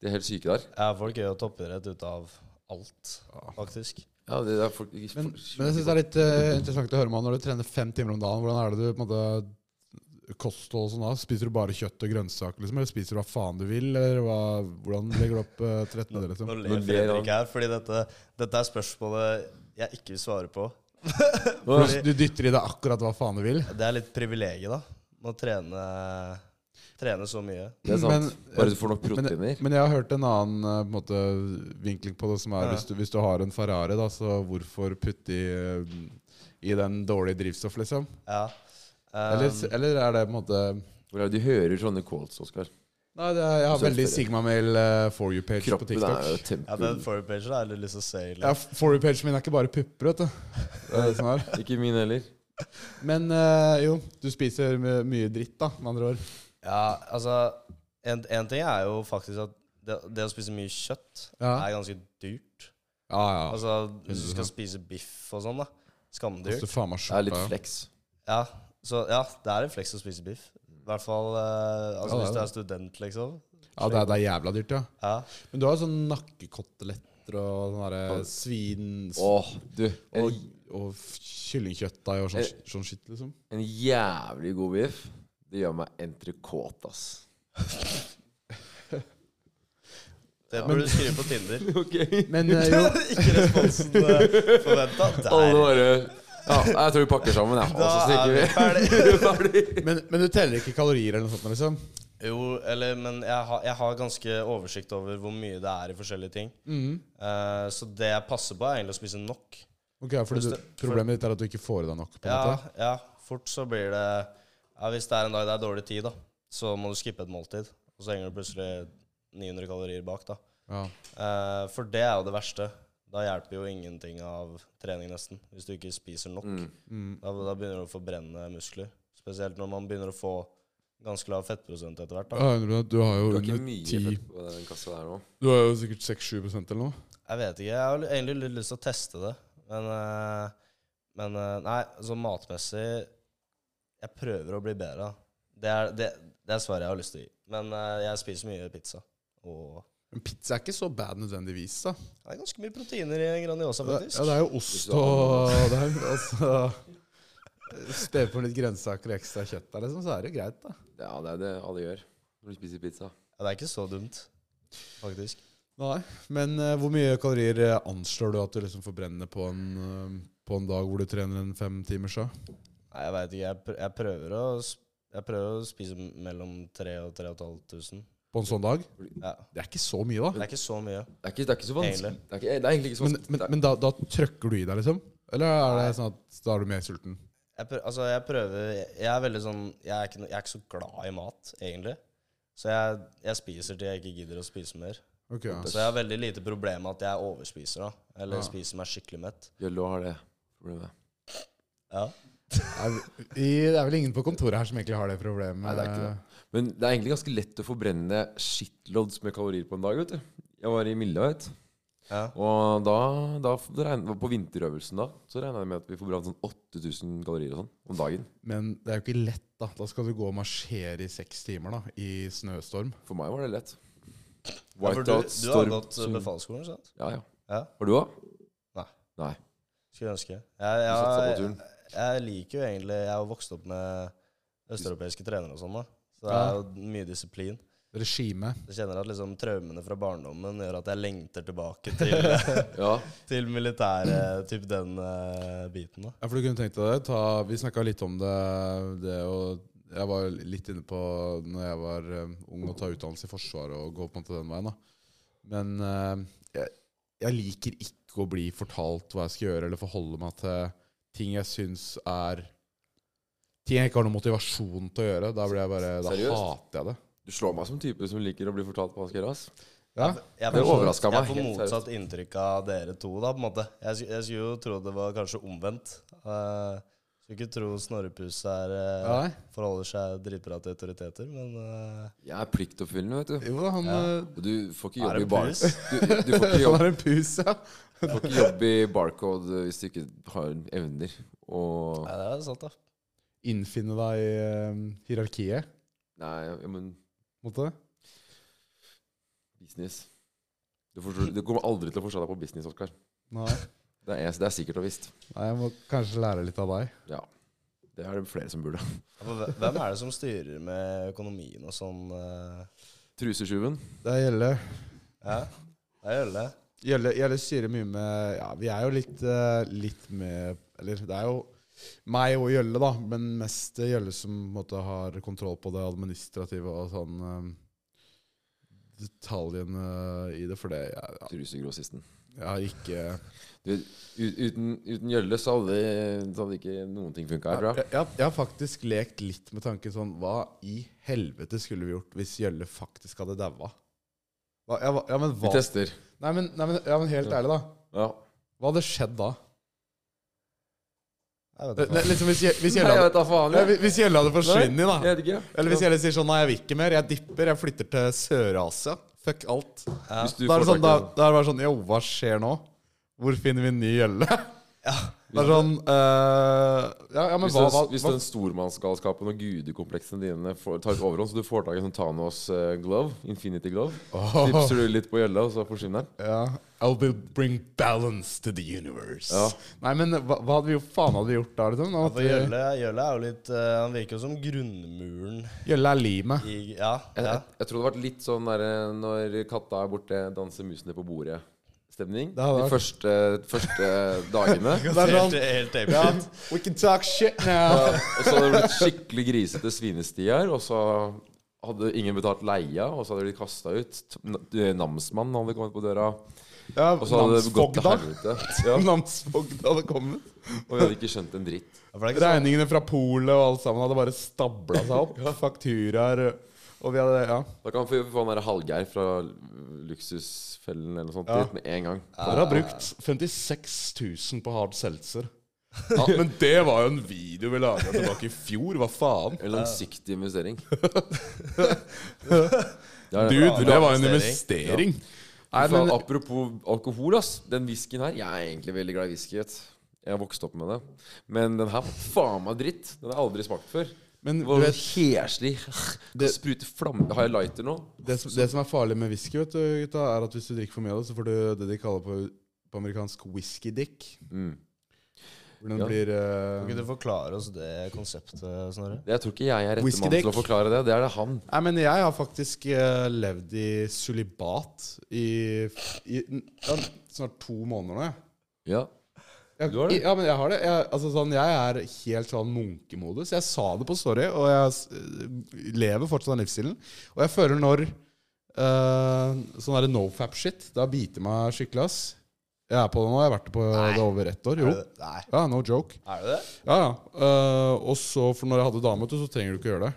[SPEAKER 1] de er helt syke der.
[SPEAKER 2] Ja, folk gjør jo toppidrett ut av alt, faktisk.
[SPEAKER 1] Ja, det er folk,
[SPEAKER 3] men, men jeg syns det er litt eh, interessant å høre med når du trener fem timer om dagen. Hvordan er det du på en måte kosthold og sånn da? Spiser du bare kjøtt og grønnsaker, liksom? Eller spiser du hva faen du vil? Eller hva, hvordan legger du opp eh, til rette med det, liksom?
[SPEAKER 2] Nå
[SPEAKER 1] Nå
[SPEAKER 2] ler
[SPEAKER 1] ler han.
[SPEAKER 2] Fredrik her, fordi dette, dette er spørsmålet jeg ikke vil svare på.
[SPEAKER 3] Du, du dytter i deg akkurat hva faen du vil?
[SPEAKER 2] Det er litt privilegiet, da. Å trene, trene så mye.
[SPEAKER 1] det er sant.
[SPEAKER 3] men-
[SPEAKER 1] Bare du får nok proteiner.
[SPEAKER 3] Men, men jeg har hørt en annen eh, på en måte, vinkling på det, som er hvis, du, hvis du har en Ferrari, da, så hvorfor putte i, eh, i den dårlige drivstoff, liksom?
[SPEAKER 2] Ja. Eh,
[SPEAKER 3] Eller,
[SPEAKER 1] Um.
[SPEAKER 3] eller er det på en måte
[SPEAKER 1] Hvor er det du hører sånne calls, Oskar?
[SPEAKER 3] Nei, det er, jeg har
[SPEAKER 1] Surfer.
[SPEAKER 3] veldig Sigma-mail uh, for you-page på
[SPEAKER 1] Kroppen er jo
[SPEAKER 3] TikTok.
[SPEAKER 1] et
[SPEAKER 2] ja,
[SPEAKER 1] tempel.
[SPEAKER 2] den forpagen har jeg litt lyst til å se.
[SPEAKER 3] Ja,
[SPEAKER 2] egentlig.
[SPEAKER 3] for you-pagen min er ikke bare pupper, vet du. Det er det som
[SPEAKER 1] (laughs)
[SPEAKER 3] er.
[SPEAKER 1] Ikke min heller.
[SPEAKER 3] Men eh, jo, du spiser my- mye dritt, da, med andre ord.
[SPEAKER 2] Ja, altså, en, en ting er jo faktisk at det, det å spise mye kjøtt
[SPEAKER 3] Ja.
[SPEAKER 2] er ganske dyrt.
[SPEAKER 3] Ja, ja.
[SPEAKER 2] Altså, hvis du skal spise biff og sånn, da. Skamdyrt.
[SPEAKER 3] Altså, faen meg
[SPEAKER 1] Det er litt
[SPEAKER 3] skjorta, ja.
[SPEAKER 1] flex.
[SPEAKER 2] Ja, så, ja det er en fleks å spise biff. I hvert fall eh, altså,
[SPEAKER 3] Ja, det
[SPEAKER 2] hvis
[SPEAKER 3] er
[SPEAKER 2] du
[SPEAKER 3] det.
[SPEAKER 2] er student, liksom.
[SPEAKER 3] Ja, det er, det er jævla dyrt, ja.
[SPEAKER 2] Ja.
[SPEAKER 3] Men du har jo sånn nakkekotelett kjøttbøtter og sånn derre svin
[SPEAKER 1] Åh, du. En,
[SPEAKER 3] og, og f- kyllingkjøttdeig og sånn,
[SPEAKER 1] Eh.
[SPEAKER 3] sånn shit, liksom.
[SPEAKER 1] en jævlig god biff. Det gjør meg entrecôte, ass.
[SPEAKER 2] Det burde du skrive på Tinder.
[SPEAKER 1] Ok.
[SPEAKER 3] Men eh, (laughs)
[SPEAKER 2] (laughs)
[SPEAKER 3] jo,
[SPEAKER 1] (laughs)
[SPEAKER 2] Ikke responsen forventa.
[SPEAKER 3] (laughs)
[SPEAKER 1] Alle
[SPEAKER 2] Der.
[SPEAKER 1] bare Ja, jeg tror vi pakker sammen, ja. Og så
[SPEAKER 2] Da er vi
[SPEAKER 1] stikker
[SPEAKER 3] (laughs)
[SPEAKER 2] ferdig.
[SPEAKER 1] vi. Ferdig.
[SPEAKER 3] men, men du teller ikke kalorier eller noe sånt? liksom
[SPEAKER 2] Jo, eller Men jeg, har- jeg har ganske oversikt over hvor mye det er i forskjellige ting.
[SPEAKER 1] Mm.
[SPEAKER 2] Eh, så det jeg passer på, er egentlig å spise nok.
[SPEAKER 3] Ok, for du, Problemet ditt er at du ikke får i deg nok? på en
[SPEAKER 2] Ja,
[SPEAKER 3] måte
[SPEAKER 2] ja, fort så blir det ja, Hvis det er en dag det er dårlig tid, da, så må du skippe et måltid. Og så henger du plutselig 900 kalorier bak, da.
[SPEAKER 3] ja.
[SPEAKER 2] Eh, for det er jo det verste. Da hjelper jo ingenting av trening, nesten. Hvis du ikke spiser nok.
[SPEAKER 1] Mm.
[SPEAKER 2] Da, da begynner du å forbrenne muskler. Spesielt når man begynner å få ganske lav fettprosent etter hvert. Da.
[SPEAKER 3] Ja, Henry, Du har jo
[SPEAKER 1] Du har ikke
[SPEAKER 3] under
[SPEAKER 1] mye
[SPEAKER 3] 10
[SPEAKER 1] fett på den kassa der nå.
[SPEAKER 3] Du har jo sikkert 6-7 prosent eller noe.
[SPEAKER 2] Jeg vet ikke. Jeg har egentlig litt lyst til å teste det. Men, eh, men eh, nei, sånn matmessig Jeg prøver å bli bedre. da. Det er, det, det er svaret jeg har lyst til å gi. Men eh, jeg spiser mye pizza. Og
[SPEAKER 3] Men pizza er ikke så bad nødvendigvis, da.
[SPEAKER 2] det er ganske mye proteiner i Grandiosa,
[SPEAKER 3] Det,
[SPEAKER 2] faktisk.
[SPEAKER 3] ja, det er jo ost og (laughs) det er, jo- (laughs) altså, Spe på litt grønnsaker og ekstra kjøtt der, liksom, så er det greit, da.
[SPEAKER 1] Ja, det er det alle gjør når de spiser pizza.
[SPEAKER 2] Ja, det er ikke så dumt, faktisk.
[SPEAKER 3] Nei, Men eh, hvor mye kalorier eh, anslår du at du liksom forbrenner på en, eh, på en dag hvor du trener en fem timers da?
[SPEAKER 2] Nei, jeg veit ikke. Jeg, pr jeg, prøver å, sp- jeg prøver å spise m- mellom 3000 og 3500.
[SPEAKER 3] På en sånn dag?
[SPEAKER 2] Ja.
[SPEAKER 3] Det er ikke så mye, da.
[SPEAKER 2] Det er ikke så mye.
[SPEAKER 1] Det er ikke, det er ikke så vanskelig.
[SPEAKER 2] Egentlig.
[SPEAKER 1] Det er, ikke, det er egentlig ikke så
[SPEAKER 3] Men,
[SPEAKER 1] vanskelig.
[SPEAKER 3] men, men da, da trøkker du i deg, liksom? Eller er det sånn at da er du mer sulten?
[SPEAKER 2] Jeg prøver, altså, jeg prøver Jeg er veldig sånn Jeg er ikke, no- jeg er ikke så glad i mat, egentlig. Så jeg, jeg spiser til jeg ikke gidder å spise mer.
[SPEAKER 3] Ok, ja.
[SPEAKER 2] Så jeg har veldig lite problem med at jeg overspiser, da. Eller
[SPEAKER 3] Ja.
[SPEAKER 2] spiser meg skikkelig mett.
[SPEAKER 1] Jøllo har det problemet.
[SPEAKER 2] Ja.
[SPEAKER 3] Er- i- Det er vel ingen på kontoret her som egentlig har det problemet.
[SPEAKER 1] Nei, det er ikke det. Men det er egentlig ganske lett å forbrenne shitloads med kalorier på en dag, vet du. Jeg var i Milda, vet du.
[SPEAKER 2] ja.
[SPEAKER 1] Og da, da regnet, på vinterøvelsen da, så regna jeg med at vi forbrant sånn 8000 kalorier og sånn om dagen.
[SPEAKER 3] Men det er jo ikke lett, da. Da skal du gå og marsjere i seks timer da, i snøstorm.
[SPEAKER 1] For meg var det lett.
[SPEAKER 2] Ja, for du,
[SPEAKER 1] Whiteout,
[SPEAKER 2] du har
[SPEAKER 1] storm,
[SPEAKER 2] gått
[SPEAKER 1] sol-
[SPEAKER 2] befalsskolen, sant?
[SPEAKER 1] Ja, ja.
[SPEAKER 2] Ja.
[SPEAKER 1] Har du òg?
[SPEAKER 2] Nei.
[SPEAKER 1] Nei.
[SPEAKER 2] Skulle ønske. Jeg,
[SPEAKER 1] satsa på
[SPEAKER 2] jeg,
[SPEAKER 1] turen.
[SPEAKER 2] jeg, liker jo egentlig Jeg har vokst opp med østeuropeiske trenere og sånn, da. Så det er jo mye disiplin.
[SPEAKER 3] Regime.
[SPEAKER 2] Jeg kjenner at liksom, traumene fra barndommen gjør at jeg lengter tilbake til, (laughs)
[SPEAKER 1] Ja.
[SPEAKER 2] til militæret, typ den eh, biten. da.
[SPEAKER 3] Ja, for du kunne tenkt deg det. Ta, vi snakka litt om det, det å Jeg var litt inne på når jeg var eh, ung og ta utdannelse i Forsvaret og gå på en måte den veien. da. Men eh, jeg, jeg liker ikke å bli fortalt hva jeg skal gjøre, eller forholde meg til ting jeg syns er Ting jeg ikke har noen motivasjon til å gjøre. Da, blir jeg bare, da
[SPEAKER 1] Seriøst?
[SPEAKER 3] hater jeg det.
[SPEAKER 1] Du slår meg som type som liker å bli fortalt hva han skal gjøre. ass.
[SPEAKER 3] Ja,
[SPEAKER 1] Det
[SPEAKER 2] Jeg får- sånn-
[SPEAKER 1] overrasket meg
[SPEAKER 2] Jeg får
[SPEAKER 1] helt
[SPEAKER 2] motsatt inntrykk av dere to, da, på en måte. Jeg, sk- jeg skulle jo tro det var kanskje omvendt. Uh, skulle ikke tro Snorrepus er, eh,
[SPEAKER 3] Nei.
[SPEAKER 2] forholder seg dritbra til autoriteter, men eh,
[SPEAKER 1] Jeg er pliktoppfyllende, vet du.
[SPEAKER 3] Jo da, han eh, (laughs)
[SPEAKER 1] Og du får ikke jobbe
[SPEAKER 2] Er det
[SPEAKER 1] i bar...
[SPEAKER 2] pus?
[SPEAKER 1] (laughs) Du, du får ikke
[SPEAKER 3] Han
[SPEAKER 1] jobbe,
[SPEAKER 3] er en pus, ja.
[SPEAKER 1] du får ikke jobbe i barcode hvis du ikke har evner. Og
[SPEAKER 2] Nei, det er sant, da.
[SPEAKER 3] Innfinne deg i eh, hierarkiet.
[SPEAKER 1] Nei, ja, men
[SPEAKER 3] Måtte.
[SPEAKER 1] business Du, forstår, du kommer aldri til å forstå deg på business, Oskar.
[SPEAKER 3] Nei.
[SPEAKER 1] Det er, det er sikkert og visst.
[SPEAKER 3] Nei, jeg må kanskje lære litt av deg.
[SPEAKER 1] Ja. Det er det flere som burde.
[SPEAKER 2] Ja, for hve- Hvem er det som styrer med økonomien og sånn? eh?
[SPEAKER 1] Trusetjuven.
[SPEAKER 3] Det er Gjelle.
[SPEAKER 2] ja, det er Jølle.
[SPEAKER 3] Gjelle, Gjelle styrer mye med Ja, vi er jo litt, eh, litt med Eller det er jo meg og Gjølle, da, men mest Gjølle som på en måte, har kontroll på det administrative og sånn eh, detaljene i det, for det jeg,
[SPEAKER 1] Trusegrossisten.
[SPEAKER 3] jeg har ikke
[SPEAKER 1] Du, u- uten, uten Gjølle så hadde, så hadde ikke noen ting funka her, tror jeg.
[SPEAKER 3] jeg, jeg, jeg har faktisk lekt litt med tanken sånn Hva i helvete skulle vi gjort hvis Gjølle faktisk hadde daua? Hva- Ja, hva- ja, men
[SPEAKER 1] Vi
[SPEAKER 3] hva
[SPEAKER 1] tester.
[SPEAKER 3] Nei, men, nei, men, ja, men helt ærlig, da.
[SPEAKER 1] Ja.
[SPEAKER 3] Hva hadde skjedd da?
[SPEAKER 2] Jeg vet
[SPEAKER 3] Det-
[SPEAKER 2] ikke.
[SPEAKER 3] det- Liksom hvis, Gjø- hvis
[SPEAKER 1] Nei, jeg
[SPEAKER 3] Gjølle
[SPEAKER 1] vet da faen.
[SPEAKER 3] Nei,
[SPEAKER 1] jeg.
[SPEAKER 3] hvis Gjelle hadde forsvunnet,
[SPEAKER 1] Nei,
[SPEAKER 3] da.
[SPEAKER 1] Jeg vet ikke.
[SPEAKER 3] Eller hvis Gjelle sier sånn Nei, jeg vil ikke mer. Jeg dipper. Jeg flytter til Sør-Asia. Fuck alt.
[SPEAKER 2] Ja.
[SPEAKER 1] Hvis du
[SPEAKER 3] Da er det
[SPEAKER 1] får
[SPEAKER 3] sånn, da,
[SPEAKER 1] tak i
[SPEAKER 3] da er det bare sånn Jo, hva skjer nå? Hvor finner vi en ny Gjelle?
[SPEAKER 2] (laughs) Ja,
[SPEAKER 3] Det er sånn eh, ja, ja, men
[SPEAKER 1] Hvis, den-
[SPEAKER 3] hva, hva,
[SPEAKER 1] hvis
[SPEAKER 3] hva
[SPEAKER 1] den stormannsgalskapen og gudekompleksene dine får, tar overhånd, så du får tak i en sånn Thanos eh, glove, Infinity glove, knipser du litt på gjella, og så forsvinner den.
[SPEAKER 3] ja. I'll be- bring balance to the universe.
[SPEAKER 1] Ja.
[SPEAKER 3] Nei, men hva, hva hadde vi gjort, faen hadde vi gjort da? Liksom? At
[SPEAKER 2] For
[SPEAKER 3] vi-
[SPEAKER 2] Gjølle, Gjølle er jo litt eh, Han virker jo som grunnmuren
[SPEAKER 3] Gjølle er limet.
[SPEAKER 2] i Ja.
[SPEAKER 1] Jeg,
[SPEAKER 2] ja. (laughs)
[SPEAKER 1] jeg, jeg tror det hadde vært litt sånn der, eh, når katta er borte, danser musene på bordet. Stemning.
[SPEAKER 3] hadde
[SPEAKER 1] De
[SPEAKER 3] vært-
[SPEAKER 1] første, første dagene.
[SPEAKER 3] Det er
[SPEAKER 2] Helt,
[SPEAKER 3] sånn
[SPEAKER 2] helt
[SPEAKER 3] ja,
[SPEAKER 2] episk.
[SPEAKER 3] (laughs) We can talk shit now.
[SPEAKER 1] Og så hadde det blitt skikkelig grisete svinestier, og så hadde ingen betalt leia, og så hadde de blitt kasta ut. T- n- Namsmannen hadde kommet på døra,
[SPEAKER 3] Ja,
[SPEAKER 1] og så hadde det gått til
[SPEAKER 3] Namsfogda.
[SPEAKER 1] helvete. Ja,
[SPEAKER 3] (laughs) Namsfogda hadde kommet.
[SPEAKER 1] og vi hadde ikke skjønt en dritt.
[SPEAKER 2] Ja, for det er ikke sånn-
[SPEAKER 3] Regningene fra polet og alt sammen hadde bare stabla seg (laughs) opp. Fakturaer og vi hadde Ja.
[SPEAKER 1] Da kan vi få han derre Hallgeir fra Luksusfellen eller noe sånt
[SPEAKER 3] Ja.
[SPEAKER 1] dit med en gang.
[SPEAKER 3] Dere har brukt 56 000 på hard seltzer. (laughs) Ja, men det var jo en video vi laga tilbake i fjor. Hva faen?
[SPEAKER 1] En langsiktig
[SPEAKER 3] (laughs)
[SPEAKER 1] investering.
[SPEAKER 3] Dude, det var en investering.
[SPEAKER 1] investering.
[SPEAKER 3] Nei,
[SPEAKER 1] For
[SPEAKER 3] men
[SPEAKER 1] apropos alkohol, ass. Den whiskyen her Jeg er egentlig veldig glad i whisky. Vet. du. Jeg har vokst opp med det. Men den her var faen meg dritt. Den har jeg aldri smakt før.
[SPEAKER 3] Men
[SPEAKER 1] det var
[SPEAKER 3] du
[SPEAKER 1] sånn heslig. Det
[SPEAKER 3] Det-
[SPEAKER 1] spruter flamme Har jeg lighter nå?
[SPEAKER 3] det som, det som er farlig med whisky, vet du, gutta, er at hvis du drikker for mye av det, så får du det de kaller på, på amerikansk whisky-dick.
[SPEAKER 1] Mm.
[SPEAKER 3] Hvor den
[SPEAKER 1] Ja.
[SPEAKER 3] blir
[SPEAKER 2] Kan
[SPEAKER 3] eh,
[SPEAKER 2] ikke du forklare oss det konseptet, Snorre?
[SPEAKER 1] Jeg tror ikke jeg er rette mann
[SPEAKER 3] Whiskydekk.
[SPEAKER 1] til å forklare det. Det er det han.
[SPEAKER 3] Nei, men jeg har faktisk eh, levd i sølibat i, i ja, snart to måneder nå, jeg.
[SPEAKER 1] Ja.
[SPEAKER 3] Jeg,
[SPEAKER 1] Du har det?
[SPEAKER 3] Ja, men jeg har det. Jeg, altså, sånn, jeg er helt sånn munkemodus. Jeg sa det på story, og jeg s- øh, lever fortsatt den livsstilen. Og jeg føler når øh, sånn derre nofap-shit Da biter meg skikkelig, ass. Jeg er på det nå. Jeg har vært det på det over ett år. Jo.
[SPEAKER 2] Er det- Nei.
[SPEAKER 3] Ja, no joke.
[SPEAKER 2] Er det det?
[SPEAKER 3] Ja, ja. Øh, og så, for når jeg hadde dame, vet du, så trenger du ikke gjøre det.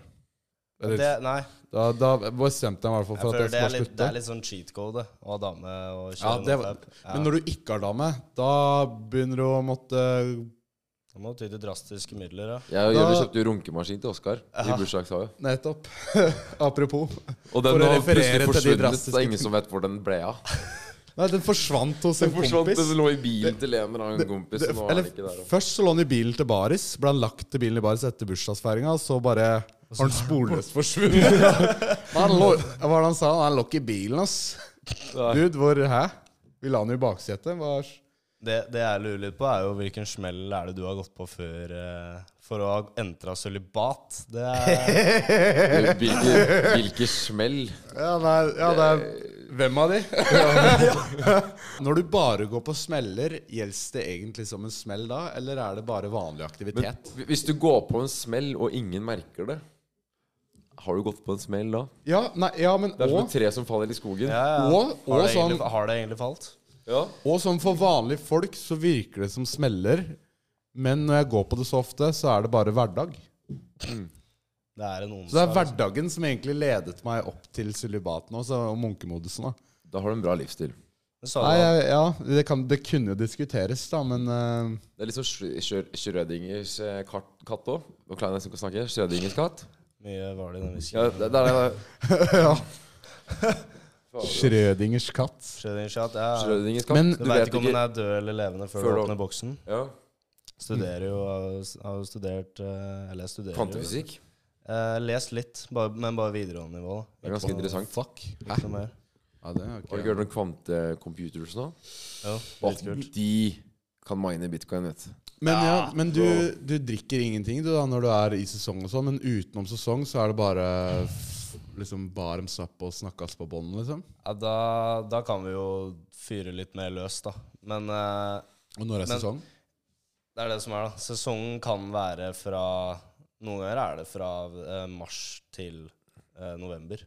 [SPEAKER 3] Eller,
[SPEAKER 2] det nei.
[SPEAKER 3] Da, da bestemte jeg meg i hvert fall
[SPEAKER 2] Jeg
[SPEAKER 3] for
[SPEAKER 2] føler
[SPEAKER 3] at jeg
[SPEAKER 2] det,
[SPEAKER 3] skulle
[SPEAKER 2] er
[SPEAKER 3] slutte.
[SPEAKER 2] litt, det er litt sånn cheat code det, å ha dame og
[SPEAKER 3] ja,
[SPEAKER 2] kjøre
[SPEAKER 3] det,
[SPEAKER 2] ja,
[SPEAKER 3] var- Men når du ikke har dame, da begynner du å måtte
[SPEAKER 2] Da må du ty til drastiske midler, ja.
[SPEAKER 1] Jeg og
[SPEAKER 3] Da-
[SPEAKER 1] Jørgen kjøpte jo runkemaskin til Oskar i bursdagsgave.
[SPEAKER 3] Nettopp. (laughs) Apropos.
[SPEAKER 1] Og
[SPEAKER 3] For å
[SPEAKER 1] den har
[SPEAKER 3] referere
[SPEAKER 1] plutselig
[SPEAKER 3] til de
[SPEAKER 1] forsvunnet.
[SPEAKER 3] drastiske-
[SPEAKER 1] Det er ingen som vet hvor den ble av. (laughs)
[SPEAKER 3] Nei, den forsvant hos en
[SPEAKER 1] Den forsvant,
[SPEAKER 3] kompis.
[SPEAKER 1] den lå i bilen til en eller annen kompis.
[SPEAKER 3] Det,
[SPEAKER 1] og Nå er
[SPEAKER 3] eller,
[SPEAKER 1] den ikke der.
[SPEAKER 3] først så lå den i bilen til baris, ble han lagt til bilen i baris etter bursdagsfeiringa, og så bare har den
[SPEAKER 2] (laughs)
[SPEAKER 3] sporløst forsvunnet. Men (laughs) han lå, hva var det han sa? Han lå ikke i bilen, ass.
[SPEAKER 1] Nei.
[SPEAKER 3] Dude, hvor Hæ? Vi la den jo i baksetet. Hva er-
[SPEAKER 2] Det, det jeg lurer litt på, er jo hvilken smell er det du har gått på før eh, for å ha entra sølibat? Det
[SPEAKER 3] (laughs)
[SPEAKER 2] er (laughs)
[SPEAKER 1] Hvilke, hvilke smell.
[SPEAKER 3] Ja, nei, ja, det er Eh, Hvem av de? (laughs) Når du bare går på smeller, gjelder det egentlig som en smell da, eller er det bare vanlig
[SPEAKER 1] Men
[SPEAKER 3] aktivitet?
[SPEAKER 1] hvi- hvis du går på en smell, og ingen merker det, har du gått på en smell da?
[SPEAKER 3] Ja, nei, ja, men
[SPEAKER 1] Det er som et
[SPEAKER 3] og,
[SPEAKER 1] tre som faller i skogen.
[SPEAKER 2] ja, ja.
[SPEAKER 3] Og- og
[SPEAKER 2] har, det
[SPEAKER 3] sånn-
[SPEAKER 2] egentlig, har det egentlig falt?
[SPEAKER 1] Ja.
[SPEAKER 3] og som for vanlige folk så virker det som smeller, men når jeg går på det så ofte, så er det bare hverdag.
[SPEAKER 2] Det er en onsdag.
[SPEAKER 3] Så det er
[SPEAKER 2] liksom.
[SPEAKER 3] hverdagen som egentlig ledet meg opp til sølibaten også, og munkemodusen. da.
[SPEAKER 1] Da har du en bra livsstil.
[SPEAKER 2] Sa du
[SPEAKER 3] Nei,
[SPEAKER 2] at-
[SPEAKER 3] jeg, ja, det, kan, det kunne jo diskuteres, da,
[SPEAKER 1] (laughs)
[SPEAKER 3] men eh,
[SPEAKER 1] Det er litt sånn Schrø- Schrø- Schrødingers eh, kart- katt òg. Nå klarer jeg nesten ikke å snakke. Schrødingers katt.
[SPEAKER 2] mye var det i den
[SPEAKER 1] Ja,
[SPEAKER 2] whiskyen?
[SPEAKER 1] det, det er det.
[SPEAKER 3] ja. Schrødingers katt.
[SPEAKER 2] Schrödingers katt, ja.
[SPEAKER 1] Schrødingers katt.
[SPEAKER 3] Men-
[SPEAKER 2] Du vet ikke om den er død eller levende før,
[SPEAKER 1] Før
[SPEAKER 2] du
[SPEAKER 1] du-
[SPEAKER 2] åpner boksen.
[SPEAKER 1] ja.
[SPEAKER 2] Studerer jo, har jo studert eh, Eller jeg studerer jo.
[SPEAKER 1] Kvantefysikk.
[SPEAKER 2] Eh, lest litt, bare, men bare videregående nivå.
[SPEAKER 1] Det er ganske interessant.
[SPEAKER 3] Fuck.
[SPEAKER 2] Ikke noe mer.
[SPEAKER 3] Ja, det er ikke
[SPEAKER 1] Har du ikke hørt om kvantecomputers nå?
[SPEAKER 2] Jo,
[SPEAKER 1] At
[SPEAKER 2] dritkult.
[SPEAKER 1] de kan mine bitcoin, vet du.
[SPEAKER 3] Men, ja, men du, du drikker ingenting du da når du er i sesong og sånn, men utenom sesong så er det bare f- liksom barms up og snakkes på bånd, liksom.
[SPEAKER 2] Ja, da, da kan vi jo fyre litt mer løs, da. Men eh,
[SPEAKER 3] Og når er
[SPEAKER 2] Men-
[SPEAKER 3] sesong?
[SPEAKER 2] det er det som er, da. Sesongen kan være fra Noen ganger er det fra eh, mars til eh, november.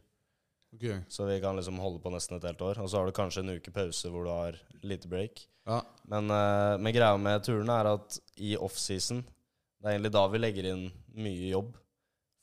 [SPEAKER 3] Ok.
[SPEAKER 2] Så vi kan liksom holde på nesten et helt år. Og så har du kanskje en uke pause hvor du har lite break.
[SPEAKER 3] Ja.
[SPEAKER 2] Men, eh, men greia med turene er at i offseason Det er egentlig da vi legger inn mye jobb.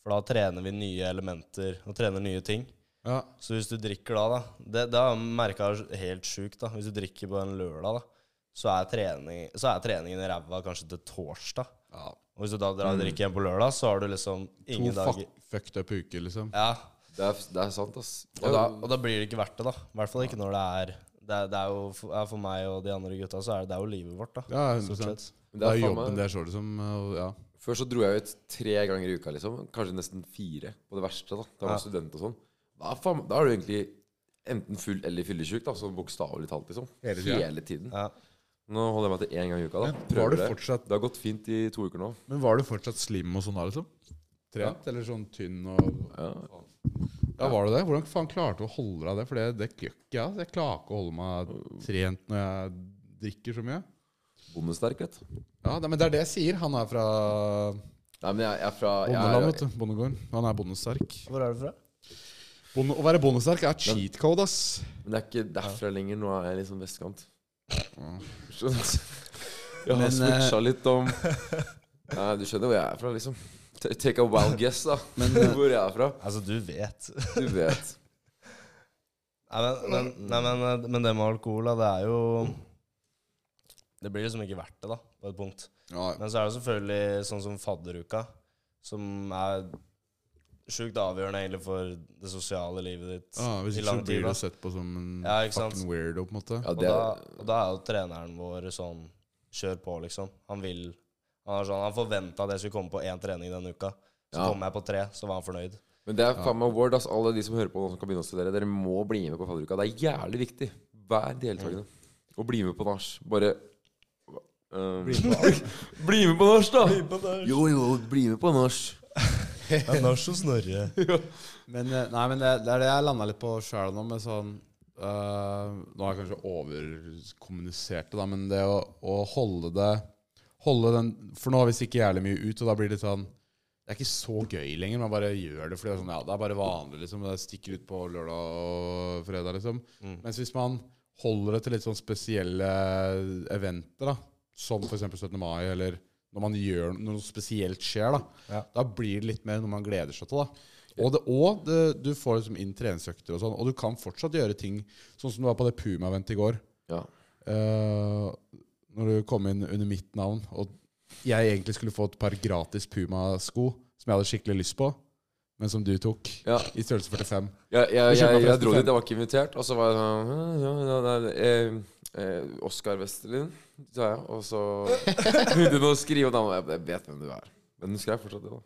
[SPEAKER 2] For da trener vi nye elementer og trener nye ting.
[SPEAKER 3] ja.
[SPEAKER 2] Så hvis du drikker da, da Det, det har jeg merka helt sjukt. da Hvis du drikker på en lørdag, da så er, trening, så er treningen i ræva kanskje til torsdag.
[SPEAKER 3] ja.
[SPEAKER 2] Og hvis du da drar og drikker igjen på lørdag, så har du liksom
[SPEAKER 3] Mm. To
[SPEAKER 2] ingen
[SPEAKER 3] fuck,
[SPEAKER 2] dager
[SPEAKER 3] fucked up uker, liksom.
[SPEAKER 2] Ja,
[SPEAKER 1] Det er, det er sant, ass.
[SPEAKER 2] og da, og da blir det ikke verdt det, da. I hvert fall ikke når det er Det er, det er jo for, er for meg og de andre gutta, så er det, det er jo livet vårt, da.
[SPEAKER 3] Ja,
[SPEAKER 2] Stort
[SPEAKER 3] 100
[SPEAKER 2] sett.
[SPEAKER 1] Men
[SPEAKER 3] Det er
[SPEAKER 1] faen
[SPEAKER 3] jobben
[SPEAKER 1] meg-
[SPEAKER 3] der, står det som. og Ja.
[SPEAKER 1] Før så dro jeg ut tre ganger i uka, liksom. Kanskje nesten fire, på det verste. Da Da var jeg
[SPEAKER 2] Ja.
[SPEAKER 1] student og sånn. Da, er faen, da er du egentlig enten full eller fyllesyk, da, sånn bokstavelig talt, liksom.
[SPEAKER 3] Hele tiden.
[SPEAKER 1] tiden.
[SPEAKER 2] Ja.
[SPEAKER 1] Nå holder jeg meg til én gang i uka, da.
[SPEAKER 3] Men var
[SPEAKER 1] Prøver
[SPEAKER 3] du
[SPEAKER 1] det.
[SPEAKER 3] fortsatt-
[SPEAKER 1] Det har gått fint i to uker nå.
[SPEAKER 3] Men var du fortsatt slim og sånn da, liksom? Trent, eller sånn tynn og
[SPEAKER 1] Ja.
[SPEAKER 3] Ja, var du det? Hvordan faen klarte du å holde deg det? For det, det gjør ikke jeg. altså. Jeg klarer ikke å holde meg trent når jeg drikker så mye.
[SPEAKER 1] Bondesterk, vet du.
[SPEAKER 3] Ja, det, men det er det jeg sier. Han er fra
[SPEAKER 1] Nei, men jeg, jeg er fra jeg er-
[SPEAKER 3] bondeland, vet du. Bondegården. Han er bondesterk.
[SPEAKER 2] Hvor er du fra?
[SPEAKER 3] Bonde, å være bondesterk er cheat code, ass.
[SPEAKER 1] Men det er ikke derfra lenger. Nå er jeg liksom vestkant. Skjønner du? (laughs) Jeg har
[SPEAKER 3] Men,
[SPEAKER 1] switcha
[SPEAKER 3] eh,
[SPEAKER 1] litt om (laughs) Nei, Du skjønner hvor jeg er fra, liksom. Ta- Take a wild guess, (laughs) da. hvor jeg er fra.
[SPEAKER 2] Altså, du vet.
[SPEAKER 1] Du vet.
[SPEAKER 2] (laughs) Nei, men, men, nei, men, eh, men det med alkohol, da, det er jo Det blir liksom ikke verdt det, da, på et punkt.
[SPEAKER 3] Ja,
[SPEAKER 2] Men så er det selvfølgelig sånn som fadderuka, som er sjukt avgjørende egentlig for det sosiale livet ditt
[SPEAKER 3] ja, Ah, hvis
[SPEAKER 2] i
[SPEAKER 3] ikke
[SPEAKER 2] lang
[SPEAKER 3] så
[SPEAKER 2] tid.
[SPEAKER 3] blir
[SPEAKER 2] da.
[SPEAKER 3] du sett på som en
[SPEAKER 2] Ja, ikke sant?
[SPEAKER 3] fucking weirdo, på en måte.
[SPEAKER 1] Ja,
[SPEAKER 2] Og
[SPEAKER 1] det
[SPEAKER 2] da,
[SPEAKER 1] er
[SPEAKER 2] og da er jo treneren vår sånn Kjør på, liksom. Han vil Han, er sånn, han forventa at jeg skulle komme på én trening denne uka. Så
[SPEAKER 1] Ja.
[SPEAKER 2] kom jeg på tre, så var han (laughs) fornøyd.
[SPEAKER 1] Men det er faen meg word, ass. Alle de som hører på nå som kan begynne å studere, dere må bli med på fadderuka. Det er jævlig viktig. Vær deltakende. Og bli med på nach. Bare eh, (laughs) Bli med på nach, da! Jo, jo, bli med på nach.
[SPEAKER 2] Det er norsk og Snorre.
[SPEAKER 3] Men, eh, nei, men det, det er det jeg landa litt på sjæl nå, med sånn eh, Nå har jeg kanskje overkommunisert det, da, men det å, å holde det Holde den For nå har vi stikket jævlig mye ut, og da blir det litt sånn Det er ikke så gøy lenger. Man bare gjør det fordi det er sånn Ja, det er bare vanlig, liksom. og Det stikker ut på lørdag og fredag, liksom. Mens hvis man holder det til litt sånn spesielle eventer, da, som f.eks. 17. mai, eller når man gjør når noe spesielt skjer, da, da blir det litt mer noe man gleder seg til. da. Og, det, og det, du får liksom inn treningsøkter og sånn, og du kan fortsatt gjøre ting sånn som du var på det Puma-eventet i går.
[SPEAKER 1] Ja.
[SPEAKER 3] Eh, når du kom inn under mitt navn, og jeg egentlig skulle få et par gratis Puma-sko som jeg hadde skikkelig lyst på, men som du tok,
[SPEAKER 1] Ja.
[SPEAKER 3] i størrelse 45.
[SPEAKER 1] Jeg, jeg,
[SPEAKER 3] Du kjøper
[SPEAKER 1] jeg, jeg
[SPEAKER 3] forresten
[SPEAKER 1] dro dit,
[SPEAKER 3] fem.
[SPEAKER 1] jeg var ikke invitert. Og så var jeg sånn «Hm, ja, ja, nei, eh, eh, Oskar Westerlin, sa jeg. Og så begynte hun å skrive, og da var jeg Jeg vet hvem du er. Men hun skrev fortsatt det, da.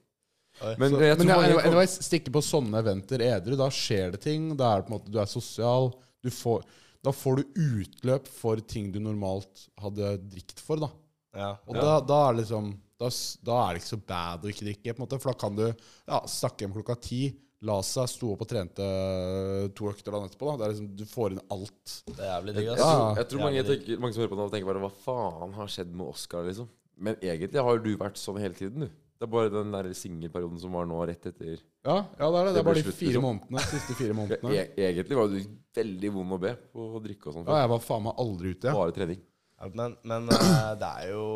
[SPEAKER 2] Oi.
[SPEAKER 1] Men
[SPEAKER 3] Så,
[SPEAKER 1] jeg tror
[SPEAKER 3] men
[SPEAKER 1] mange
[SPEAKER 3] jeg,
[SPEAKER 1] kom-
[SPEAKER 3] anyways, stikke på sånne eventer edru, da skjer det ting. Da er det på en måte, du er sosial. Du får, da får du utløp for ting du normalt hadde drikt for. Da.
[SPEAKER 2] Ja.
[SPEAKER 3] Og da, da, er det liksom, da, s- da er det ikke så bad å ikke drikke, på en måte, for da kan du ja, snakke hjem klokka ti. La seg stå opp og trente eh, to økter dagen etterpå. Da. Det er liksom, du får inn alt.
[SPEAKER 2] Det er jævlig digg,
[SPEAKER 1] Jeg
[SPEAKER 2] ass.
[SPEAKER 1] tror, jeg tror
[SPEAKER 2] Jævlig
[SPEAKER 1] mange,
[SPEAKER 2] digg.
[SPEAKER 1] tenker, mange som hører på nå, tenker bare Hva faen har skjedd med Oscar, liksom? Men egentlig har jo du vært sånn hele tiden, du. Det er bare den der singelperioden som var nå, rett etter
[SPEAKER 3] Ja, ja det er det. Det
[SPEAKER 1] Det
[SPEAKER 3] er bare
[SPEAKER 1] blir
[SPEAKER 3] de
[SPEAKER 1] slutt,
[SPEAKER 3] fire
[SPEAKER 1] liksom.
[SPEAKER 3] månedene, siste fire månedene.
[SPEAKER 1] e Egentlig var du veldig vond å be på å drikke og sånn.
[SPEAKER 3] Ja,
[SPEAKER 1] før.
[SPEAKER 3] jeg var faen meg aldri ute. jeg.
[SPEAKER 1] Bare trening.
[SPEAKER 2] Ja, Men, men eh, det er jo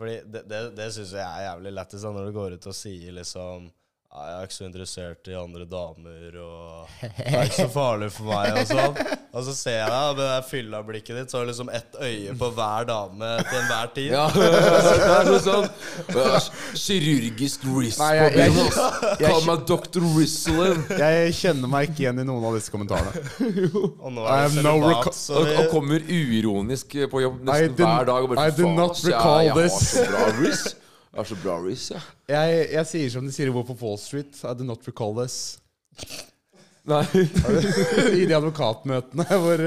[SPEAKER 2] Fordi det, det, det syns jeg er jævlig lættis da, når du går ut og sier liksom ja, jeg er ikke så interessert i andre damer, og det er ikke så farlig for meg. Og sånn Og så ser jeg deg med det der fylla blikket ditt, så har du liksom ett øye på hver dame til enhver tid.
[SPEAKER 1] Ja, (laughs) det er sånn sånn ja, Kirurgisk wrist
[SPEAKER 3] Nei, jeg- jeg-
[SPEAKER 1] på benet. Kall meg Dr. (laughs) Rizzlin.
[SPEAKER 3] Jeg kjenner meg ikke igjen i noen av disse kommentarene.
[SPEAKER 2] Og nå
[SPEAKER 3] I
[SPEAKER 2] er
[SPEAKER 3] have
[SPEAKER 2] det
[SPEAKER 3] no
[SPEAKER 2] celibat,
[SPEAKER 3] reco-
[SPEAKER 2] så
[SPEAKER 1] Og,
[SPEAKER 2] vi,
[SPEAKER 1] og kommer uironisk på jobb
[SPEAKER 3] I
[SPEAKER 1] nesten
[SPEAKER 3] do-
[SPEAKER 1] hver dag. Og bare,
[SPEAKER 3] I do
[SPEAKER 1] "Faen,
[SPEAKER 3] not
[SPEAKER 1] ass, jeg-
[SPEAKER 3] recall
[SPEAKER 1] jeg,
[SPEAKER 3] this."
[SPEAKER 1] har så bra wrist. Jeg har så bra wrist, jeg.
[SPEAKER 3] (laughs) Jeg, jeg sier som de sier i Wolf of Wall Street, I do not recall this.
[SPEAKER 1] Nei.
[SPEAKER 3] (laughs) I de advokatmøtene (laughs) hvor,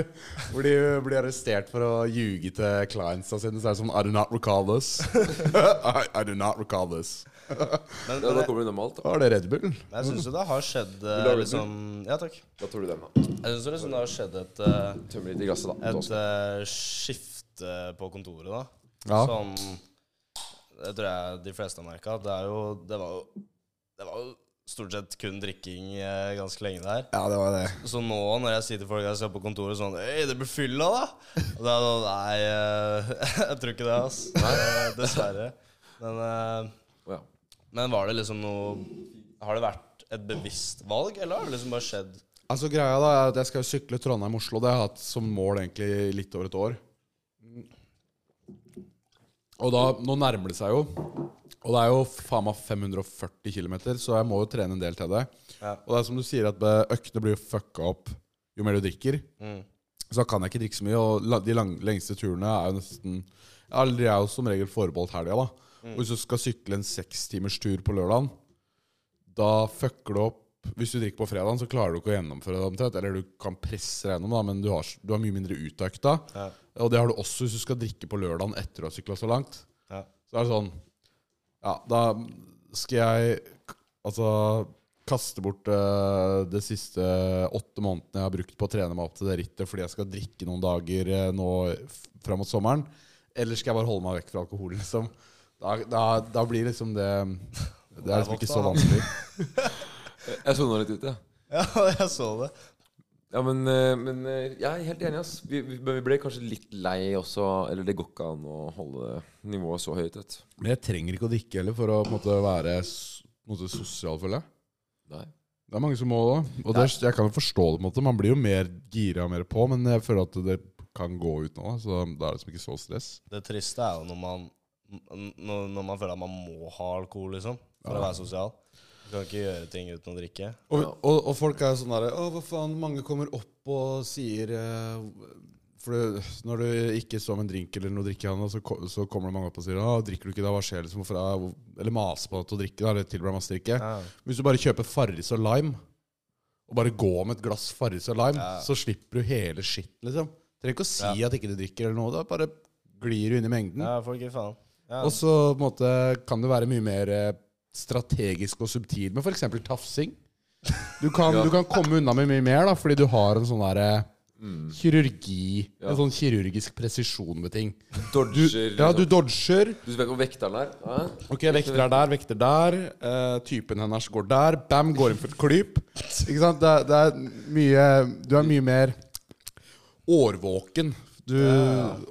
[SPEAKER 3] hvor de blir arrestert for å ljuge til clientsa sine, så er det sånn I do not recall this. (laughs) I, I do not recall this.
[SPEAKER 2] men,
[SPEAKER 1] Ja,
[SPEAKER 2] men
[SPEAKER 1] da
[SPEAKER 2] jeg,
[SPEAKER 1] kommer det normalt, da.
[SPEAKER 3] Da er det Red Bull.
[SPEAKER 2] jeg syns jo det har skjedd eh,
[SPEAKER 1] Vil du ha litt
[SPEAKER 2] liksom Ja, takk.
[SPEAKER 1] Da tar du den, da.
[SPEAKER 2] Jeg syns jo liksom det har skjedd et eh,
[SPEAKER 1] Tømmer litt i glasset, da.
[SPEAKER 2] et eh, skifte på kontoret, da.
[SPEAKER 3] Ja.
[SPEAKER 2] Som det tror jeg de fleste har merka. Det, er jo- det, var jo- det var jo stort sett kun drikking eh, ganske lenge der.
[SPEAKER 3] Ja, det var det.
[SPEAKER 2] Så nå når jeg sier til folk jeg ser på kontoret sånn Øy, det blir fylla, da! Og da er det sånn, Nei, eh, (laughs) jeg tror ikke det, ass. Eh, Dessverre. Men, eh,
[SPEAKER 1] Å, ja.
[SPEAKER 2] men var det liksom noe Har det vært et bevisst valg, eller har det liksom bare skjedd?
[SPEAKER 3] Altså greia da er at Jeg skal jo sykle Trondheim-Oslo. Det har jeg hatt som mål egentlig i litt over et år. Og da, Nå nærmer det seg jo. Og det er jo faen meg 540 km, så jeg må jo trene en del til det.
[SPEAKER 2] Ja.
[SPEAKER 3] Og det er som du sier, at eh, øktene blir jo fucka opp jo mer du drikker. Så da kan jeg ikke drikke så mye. Og la- de lang, lengste turene er jo nesten ja, De er jo som regel forbeholdt helga, da. Og hvis du skal sykle en sekstimers tur på lørdagen, da fucker du opp Hvis du drikker på fredagen, så klarer du ikke å gjennomføre det omtrent. Eller du kan presse deg gjennom, da, men du har, s- du har mye mindre ut av økta.
[SPEAKER 2] Ja.
[SPEAKER 3] Og det har du også hvis du skal drikke på lørdagen etter å ha sykla så langt.
[SPEAKER 2] Ja.
[SPEAKER 3] Så er det sånn Ja, da skal jeg k- altså kaste bort eh, de siste åtte månedene jeg har brukt på å trene meg opp til det rittet fordi jeg skal drikke noen dager eh, nå f- fram mot sommeren. Eller skal jeg bare holde meg vekk fra alkohol, liksom? Da, da, da blir liksom det Det er liksom ikke så vanskelig.
[SPEAKER 1] Jeg sona litt ut, jeg. Ja.
[SPEAKER 2] (laughs) Ja, jeg så det.
[SPEAKER 1] Ja, men, eh, men eh, jeg er helt enig. Ass. Vi, vi, men vi ble kanskje litt lei også. Eller det går ikke an å holde nivået så høyt. Vet. du.
[SPEAKER 3] Men jeg trenger ikke å drikke heller for å på en måte være s- på en måte, sosial, føler jeg.
[SPEAKER 1] Nei.
[SPEAKER 3] Det er mange som må det. da. Og det, er- jeg kan jo forstå det. på en måte Man blir jo mer gira og mer på, men jeg føler at det kan gå ut nå. da. Så da er det liksom ikke så stress.
[SPEAKER 2] Det triste er jo når man, n- når, når man føler at man må ha alkohol, liksom. For å være sosial. Du kan ikke gjøre ting uten å drikke.
[SPEAKER 3] Og, og, og folk er jo sånn derre Å, hva faen. Mange kommer opp og sier eh, For det, når du ikke så med en drink eller noe drikke i handa, så, ko- så kommer det mange opp og sier Å, drikker du ikke da? Hva skjer? Liksom, hvorfor er, hvor- eller maser på deg til å drikke. Da, eller tilbyr deg masse drikke.
[SPEAKER 2] Ja.
[SPEAKER 3] Hvis du bare kjøper Farris og lime, og bare går med et glass Farris og lime, så slipper du hele shit, liksom. Trenger ikke å si at ikke du drikker eller noe. Da bare glir du inn i mengden.
[SPEAKER 2] Ja, folk gir faen. Ja.
[SPEAKER 3] Og så på en måte, kan du være mye mer eh, strategisk og subtil med f.eks. tafsing. Du
[SPEAKER 1] (laughs)
[SPEAKER 3] kan, du kan komme unna med mye mer da, fordi du har en sånn derre
[SPEAKER 1] Mm.
[SPEAKER 3] kirurgi En sånn kirurgisk presisjon med ting. Du,
[SPEAKER 1] Dodger.
[SPEAKER 3] ja, du
[SPEAKER 1] liksom.
[SPEAKER 3] dodger.
[SPEAKER 1] du vet hvor vekteren er? Hæ?
[SPEAKER 3] Ok, vekter er der, vekter der. eh, typen hennes går der. Bam, går inn for et klyp. Ikke sant? Det, er- det er mye Du er mye mer årvåken. Du,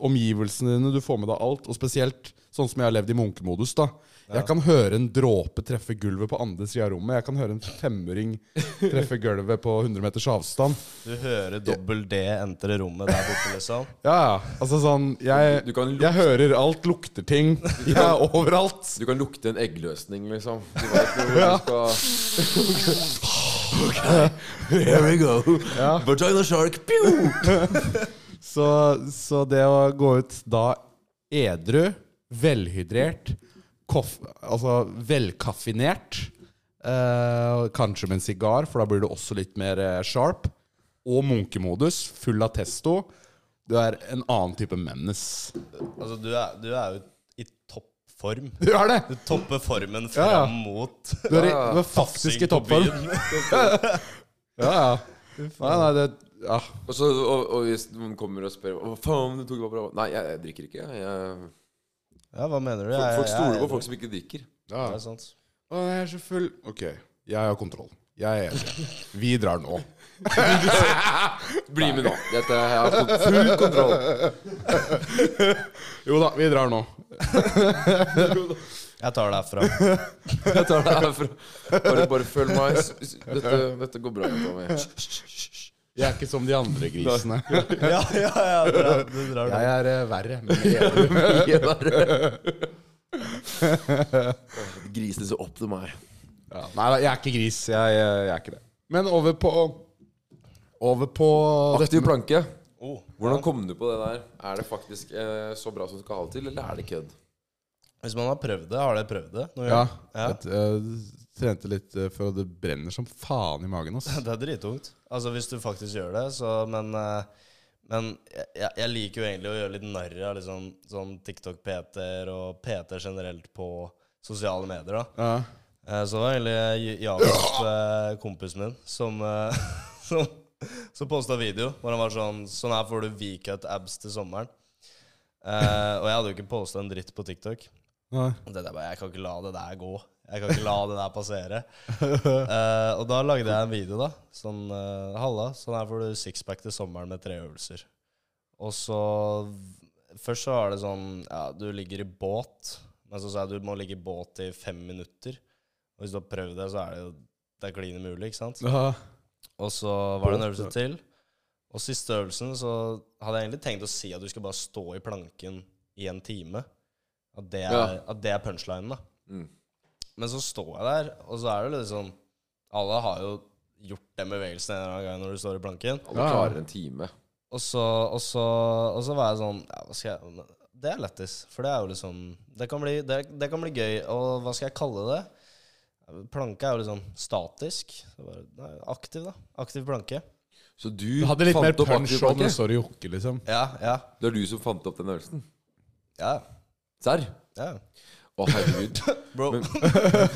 [SPEAKER 3] Omgivelsene dine, du får med deg alt. Og spesielt sånn som jeg har levd i munkemodus. da Jeg kan høre en dråpe treffe gulvet på andre sida av rommet. Jeg kan høre en femøring treffe gulvet på 100 meters avstand.
[SPEAKER 2] Du hører dobbel D entre rommet der borte, liksom.
[SPEAKER 3] Ja, ja. Altså sånn Jeg,
[SPEAKER 1] Du kan lukte-
[SPEAKER 3] jeg hører alt, lukter ting. Jeg er overalt.
[SPEAKER 1] Du kan lukte en eggløsning, liksom. Du vet hvor du skal
[SPEAKER 3] Here we go. Vagina shark. så, så det å gå ut da edru, velhydrert, koff, altså velkaffinert, eh, og kanskje med en sigar, for da blir du også litt mer eh, sharp, og munkemodus, full av testo, du er en annen type menace.
[SPEAKER 2] Altså, du er, du er jo i toppform.
[SPEAKER 3] (laughs) Du er det!
[SPEAKER 2] Du topper formen fram
[SPEAKER 3] Ja, ja.
[SPEAKER 2] mot
[SPEAKER 3] Du er, i, du er faktisk i toppform. Ja, ja. Nei, nei, det ja.
[SPEAKER 1] og, så, og, og hvis noen kommer og spør Hva faen, du tok bare bra Nei, jeg, jeg drikker ikke. Jeg, jeg,
[SPEAKER 2] (laughs) Ja, hva mener du?
[SPEAKER 1] folk,
[SPEAKER 2] Jeg-
[SPEAKER 1] folk
[SPEAKER 2] jeg-
[SPEAKER 1] stoler
[SPEAKER 2] jeg-
[SPEAKER 1] på folk som ikke drikker.
[SPEAKER 3] ja.
[SPEAKER 2] Det er sant.
[SPEAKER 3] Å, jeg er så full. Ok, jeg har kontroll. Jeg er enig. Vi drar nå.
[SPEAKER 1] Bli med nå. Dette, jeg har fått full kontroll.
[SPEAKER 3] Jo da, vi drar nå.
[SPEAKER 2] Jeg tar det herfra. (laughs)
[SPEAKER 1] Jeg tar det herfra. Bare, bare følg meg. S- s- Dette, dette går bra. Tommy.
[SPEAKER 3] Jeg er ikke som de andre grisene.
[SPEAKER 2] ja, ja, ja, du drar, du drar det.
[SPEAKER 3] Jeg er eh, verre. Men
[SPEAKER 1] (laughs)
[SPEAKER 3] jeg er edru.
[SPEAKER 1] Grisene så opp til meg.
[SPEAKER 3] ja. Nei da, jeg er ikke gris. Jeg, eh, jeg er ikke det. Men over på Over på
[SPEAKER 1] Aktiv planke.
[SPEAKER 2] Oh.
[SPEAKER 1] Hvordan kom du på det der? Er det faktisk eh, så bra som du skal ha det til, eller er det kødd?
[SPEAKER 2] Hvis man har prøvd det, har dere prøvd det? noen
[SPEAKER 3] Ja.
[SPEAKER 2] gang? Ja.
[SPEAKER 3] Jeg, eh, trente litt eh, før, og det brenner som faen i
[SPEAKER 1] (laughs)
[SPEAKER 3] magen. Ass.
[SPEAKER 2] (laughs) Det er drittungt. Altså, hvis du faktisk gjør det, så Men, eh, men jeg, jeg liker jo egentlig å gjøre litt narr av liksom, sånn TikTok-Peter og Peter generelt på sosiale medier, da.
[SPEAKER 3] Ja.
[SPEAKER 2] Eh, Så det var egentlig J- Jakob, eh, kompisen min, som, eh, (laughs) som, som posta video hvor han var sånn Sånn her får du V-cut abs til sommeren. Eh, og jeg hadde jo ikke posta en dritt på TikTok.
[SPEAKER 3] Nei.
[SPEAKER 2] Og tenkte jeg bare, jeg kan ikke la det der gå. Jeg kan ikke la det der passere. (laughs) Eh, og da lagde jeg en video, da. Sånn eh, Halla, sånn her får du sixpack til sommeren med tre øvelser. Og så Først så var det sånn Ja, du ligger i båt. Men så sa jeg du må ligge i båt i fem minutter. Og hvis du har prøvd det, så er det jo Det er klin umulig, ikke sant?
[SPEAKER 3] Ja.
[SPEAKER 2] Og så var det en
[SPEAKER 3] Båt,
[SPEAKER 2] øvelse til. Og siste øvelsen så hadde jeg egentlig tenkt å si at du skal bare stå i planken i en time. At det er,
[SPEAKER 1] Ja.
[SPEAKER 2] at det er punchlinen, da.
[SPEAKER 1] Mm.
[SPEAKER 2] Men så står jeg der, og så er det litt sånn Alle har jo gjort den bevegelsen en eller annen gang når du står i planken.
[SPEAKER 1] Alle klarer en time.
[SPEAKER 2] Og så, og, så, og så var jeg sånn ja, hva skal jeg, Det er lættis. For det er jo liksom det kan, bli, det, det kan bli gøy. Og hva skal jeg kalle det? Planke er jo liksom statisk. Det var, nei, aktiv, da. Aktiv planke.
[SPEAKER 1] Så du,
[SPEAKER 3] Du hadde litt mer
[SPEAKER 1] fant opp
[SPEAKER 3] punch om
[SPEAKER 1] aktivpakke?
[SPEAKER 3] det står i jokke, liksom.
[SPEAKER 2] Ja, ja.
[SPEAKER 1] Det er du som fant opp den øvelsen?
[SPEAKER 2] Ja,
[SPEAKER 1] Serr?
[SPEAKER 2] ja.
[SPEAKER 1] Å, (laughs) herregud.
[SPEAKER 2] Bro. (laughs)
[SPEAKER 1] Men-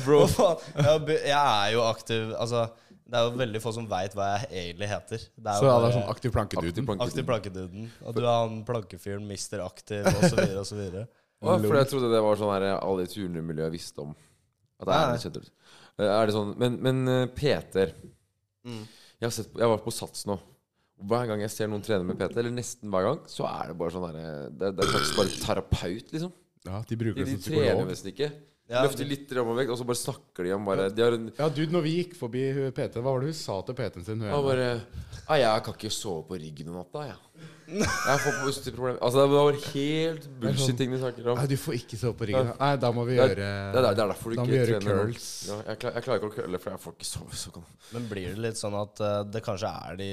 [SPEAKER 2] Bro. Hva faen? Jeg, har be- jeg er jo aktiv Altså, det er jo veldig få som veit hva jeg egentlig heter. Det er
[SPEAKER 3] Så
[SPEAKER 2] jo
[SPEAKER 3] ja, det
[SPEAKER 2] bare
[SPEAKER 3] er sånn aktiv
[SPEAKER 1] Aktiv
[SPEAKER 3] plankeduden.
[SPEAKER 1] planke.
[SPEAKER 2] aktiv plankeduden. Og du er han plankefyren, mister aktiv, osv., osv.
[SPEAKER 1] Å, for jeg trodde det var sånn her alle i turnemiljøet visste om. At det er
[SPEAKER 2] Nei.
[SPEAKER 1] litt kjent ut. Eh, Er det sånn Men, men eh, Peter
[SPEAKER 2] Mm.
[SPEAKER 1] jeg, har sett, på- jeg var på Sats nå. Hver gang jeg ser noen trene med Peter, eller nesten hver gang, så er det bare sånn her eh, Det, er- det er faktisk bare terapeut, liksom.
[SPEAKER 3] Ja, de bruker
[SPEAKER 1] De,
[SPEAKER 3] det
[SPEAKER 1] de
[SPEAKER 3] som
[SPEAKER 1] trener
[SPEAKER 3] psykolog.
[SPEAKER 1] nesten ikke.
[SPEAKER 2] Ja,
[SPEAKER 1] Løfter litt rammervekt, og så bare snakker de om bare De har en
[SPEAKER 3] Ja, dude, når vi gikk forbi hun PT, hva var det hun sa til PT-en sin? Hun
[SPEAKER 1] Han
[SPEAKER 3] ene?
[SPEAKER 1] bare Nei, jeg kan ikke sove på ryggen om natta,
[SPEAKER 2] (laughs)
[SPEAKER 1] jeg. Jeg får positive problemer. Altså, det var helt bullshit ting de snakker om.
[SPEAKER 3] Nei, du får ikke sove på ryggen. Nei, da må vi
[SPEAKER 1] Det er,
[SPEAKER 3] gjøre
[SPEAKER 1] det, er, det er derfor du
[SPEAKER 3] Da må
[SPEAKER 1] ikke
[SPEAKER 3] vi gjøre
[SPEAKER 1] trener nå.
[SPEAKER 3] curls.
[SPEAKER 1] Ja, jeg, klar, jeg klarer ikke å curle, for jeg får ikke sove. Så kan.
[SPEAKER 2] Men blir det litt sånn at eh, det kanskje er de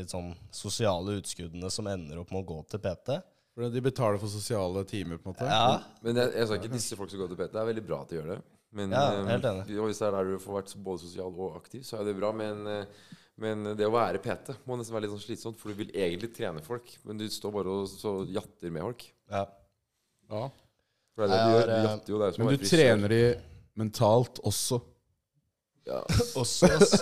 [SPEAKER 2] litt sånn sosiale utskuddene som ender opp med å gå til PT?
[SPEAKER 3] Hvordan De betaler for sosiale timer, på en måte.
[SPEAKER 2] Ja.
[SPEAKER 1] Men jeg, jeg skal ikke disse folk som går til PT. Det er veldig bra at de gjør det. Men
[SPEAKER 2] Ja,
[SPEAKER 1] eh,
[SPEAKER 2] helt enig.
[SPEAKER 1] ja, hvis det er der du får vært både sosial og aktiv, så er det bra. Men, eh, men det å være PT må nesten være litt sånn slitsomt, for du vil egentlig trene folk, men du står bare og så jatter med folk.
[SPEAKER 2] ja.
[SPEAKER 3] Ja.
[SPEAKER 1] For det er det du
[SPEAKER 2] Jeg
[SPEAKER 1] gjør.
[SPEAKER 2] har,
[SPEAKER 1] Du
[SPEAKER 2] eh,
[SPEAKER 1] jatter jo, det er jo som å
[SPEAKER 3] Men
[SPEAKER 1] være
[SPEAKER 3] du
[SPEAKER 1] frisør.
[SPEAKER 3] trener de mentalt også. (laughs)
[SPEAKER 1] Ja.
[SPEAKER 2] Også, ass.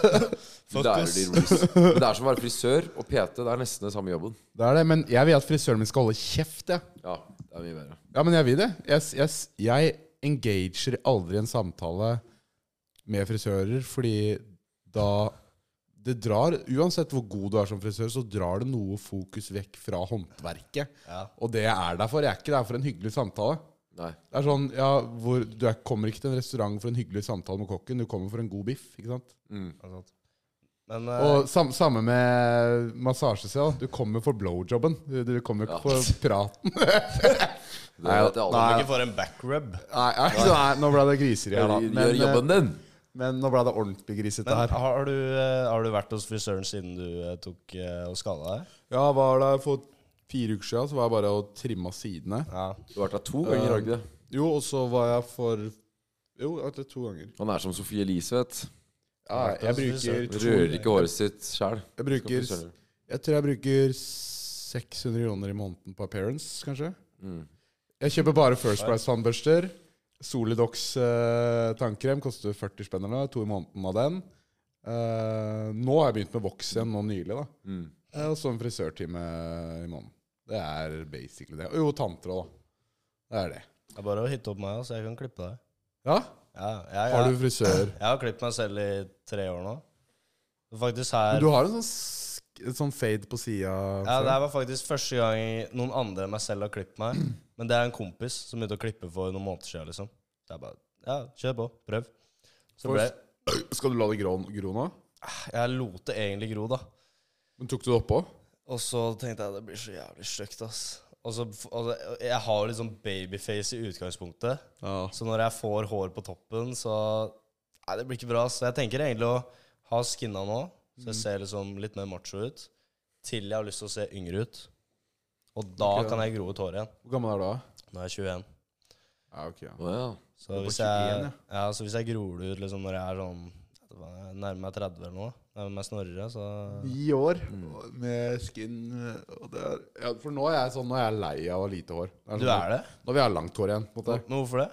[SPEAKER 2] Fuck,
[SPEAKER 1] det er
[SPEAKER 2] ass.
[SPEAKER 1] jo de rules. Men det er som å være frisør og PT. Det er nesten den samme jobben.
[SPEAKER 3] Det er det, men jeg vil at frisøren min skal holde kjeft, jeg.
[SPEAKER 1] Ja, det er mye bedre.
[SPEAKER 3] Ja, men jeg vil det. Jeg, jeg, jeg engager aldri en samtale med frisører, fordi da det drar, Uansett hvor god du er som frisør, så drar det noe fokus vekk fra håndverket.
[SPEAKER 2] Ja.
[SPEAKER 3] Og det jeg er der for. Jeg er ikke der for en hyggelig samtale.
[SPEAKER 1] Nei.
[SPEAKER 3] Det er sånn, ja, hvor, Du er, kommer ikke til en restaurant for en hyggelig samtale med kokken, du kommer for en god biff. ikke sant?
[SPEAKER 2] Det er sant. Men eh,
[SPEAKER 3] Og sam, samme med massasjesal. Du kommer for blowjobben. Du, du kommer ikke
[SPEAKER 1] Ja.
[SPEAKER 3] for praten.
[SPEAKER 1] Det er at jeg aldri
[SPEAKER 2] om du ikke får en backrub
[SPEAKER 3] Nei, nei, nei, nå ble det griseri her, da.
[SPEAKER 1] gjør,
[SPEAKER 3] Men,
[SPEAKER 1] gjør jobben din.
[SPEAKER 3] eh, men nå ble det ordentlig grisete
[SPEAKER 2] Men
[SPEAKER 3] her.
[SPEAKER 2] har du, eh, har du vært hos frisøren siden du eh, tok eh, og skada deg?
[SPEAKER 3] Ja, var der for fire uker siden, så var jeg bare og trimma sidene.
[SPEAKER 2] Ja.
[SPEAKER 1] Du har vært der to ganger, har du ikke det?
[SPEAKER 3] Jo, og så var jeg for Jo, etter to ganger.
[SPEAKER 1] Han er som Sofie Elise, vet du.
[SPEAKER 3] Ja, jeg bruker
[SPEAKER 1] Han Rører ikke håret sitt sjæl.
[SPEAKER 3] Jeg bruker Jeg tror jeg bruker 600 kroner i måneden på appearance, kanskje.
[SPEAKER 1] Mm.
[SPEAKER 3] Jeg kjøper bare First Price tannbørster. Solidox eh, tannkrem koster 40 spenn eller noe. To i måneden av den. Eh, nå har jeg begynt med voks igjen nå nylig, da.
[SPEAKER 1] Mm.
[SPEAKER 3] Eh, og så en frisørtime i måneden. Det er basically det. Og Jo, tanntråd, da. Det er det.
[SPEAKER 2] Det er bare å hitte opp meg, så jeg kan klippe deg.
[SPEAKER 3] Ja?
[SPEAKER 2] Ja, jeg,
[SPEAKER 3] Har
[SPEAKER 2] jeg,
[SPEAKER 3] du frisør?
[SPEAKER 2] jeg har klippet meg selv i tre år nå. Faktisk her
[SPEAKER 3] Du har en sånn, sk- en sånn fade på sida.
[SPEAKER 2] Ja, det her var faktisk første gang noen andre enn meg selv har klippet meg. Men det er en kompis som begynte å klippe for noen måneder siden, liksom. Så jeg bare Ja, kjør på. Prøv. Så ble jeg
[SPEAKER 3] Skal du la det gro, gro nå?
[SPEAKER 2] Jeg lot det egentlig gro, da.
[SPEAKER 3] Men tok du det oppå?
[SPEAKER 2] Og så tenkte jeg det blir så jævlig stygt, ass. Og så, og så, jeg har jo litt sånn babyface i utgangspunktet.
[SPEAKER 3] Ja.
[SPEAKER 2] Så når jeg får hår på toppen, så Nei, det blir ikke bra. ass. Så jeg tenker egentlig å ha skinna nå, så jeg ser liksom litt mer macho ut, til jeg har lyst til å se yngre ut. Og da
[SPEAKER 3] Ok.
[SPEAKER 2] kan jeg gro ut håret igjen.
[SPEAKER 3] Hvor gammel er du da?
[SPEAKER 2] Nå er jeg 21.
[SPEAKER 3] Ja, ok, ja.
[SPEAKER 1] Å ja.
[SPEAKER 2] Så
[SPEAKER 3] Du er
[SPEAKER 2] hvis,
[SPEAKER 3] bare
[SPEAKER 2] jeg,
[SPEAKER 3] 21,
[SPEAKER 2] ja, så hvis jeg gror det ut liksom når jeg er sånn jeg vet ikke hva, jeg nærmer meg 30 eller noe, nærmer meg Snorre, så
[SPEAKER 3] Ni år med skin og det er, ja, For nå er jeg sånn Nå er jeg lei av å ha lite hår. Det
[SPEAKER 2] Du
[SPEAKER 3] sånn-
[SPEAKER 2] er det?
[SPEAKER 3] Nå vil jeg ha langt hår igjen. på en Måte.
[SPEAKER 2] Men hvorfor det?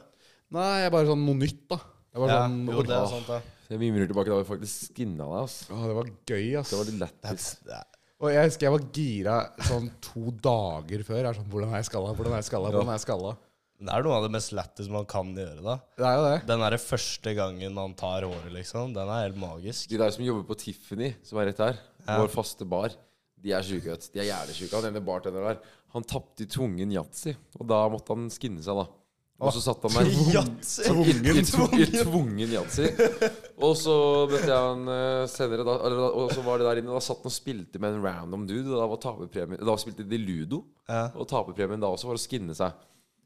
[SPEAKER 3] Nei, jeg er bare sånn noe nytt, da. Jeg bare
[SPEAKER 2] Ja,
[SPEAKER 3] sånn,
[SPEAKER 2] jo, det er
[SPEAKER 3] Åh,
[SPEAKER 2] sant, da.
[SPEAKER 1] Så jeg mimrer tilbake da vi faktisk skinna deg, altså.
[SPEAKER 3] åh, det var gøy, ass.
[SPEAKER 1] Det var litt lættis.
[SPEAKER 2] Ja.
[SPEAKER 3] Og jeg husker jeg var gira sånn to dager før. Jeg er sånn, Hvordan er jeg skalla? Hvordan er jeg skalla? Hvordan er jeg skalla?
[SPEAKER 2] Det er noe av det mest lættis man kan gjøre, da.
[SPEAKER 3] Det er jo det.
[SPEAKER 2] Den derre første gangen man tar håret, liksom, den er helt magisk.
[SPEAKER 1] De der som jobber på Tiffany, som er rett her, vår faste bar, de er sjuke, vet du. De er jævlig sjuke. Han ene bartenderen der, han tapte i tvungen yatzy, og da måtte han skinne seg, da. Og så satt han der
[SPEAKER 2] Yatzy!
[SPEAKER 1] I, i, tvungen. I tvungen yatzy. Og så møtte jeg han eh, senere, da, eller, da- og så var det der inne. Da satt han og spilte med en random dude. Og da, var taperpremien- da spilte de ludo,
[SPEAKER 2] Ja.
[SPEAKER 1] og taperpremien da også var å skinne seg.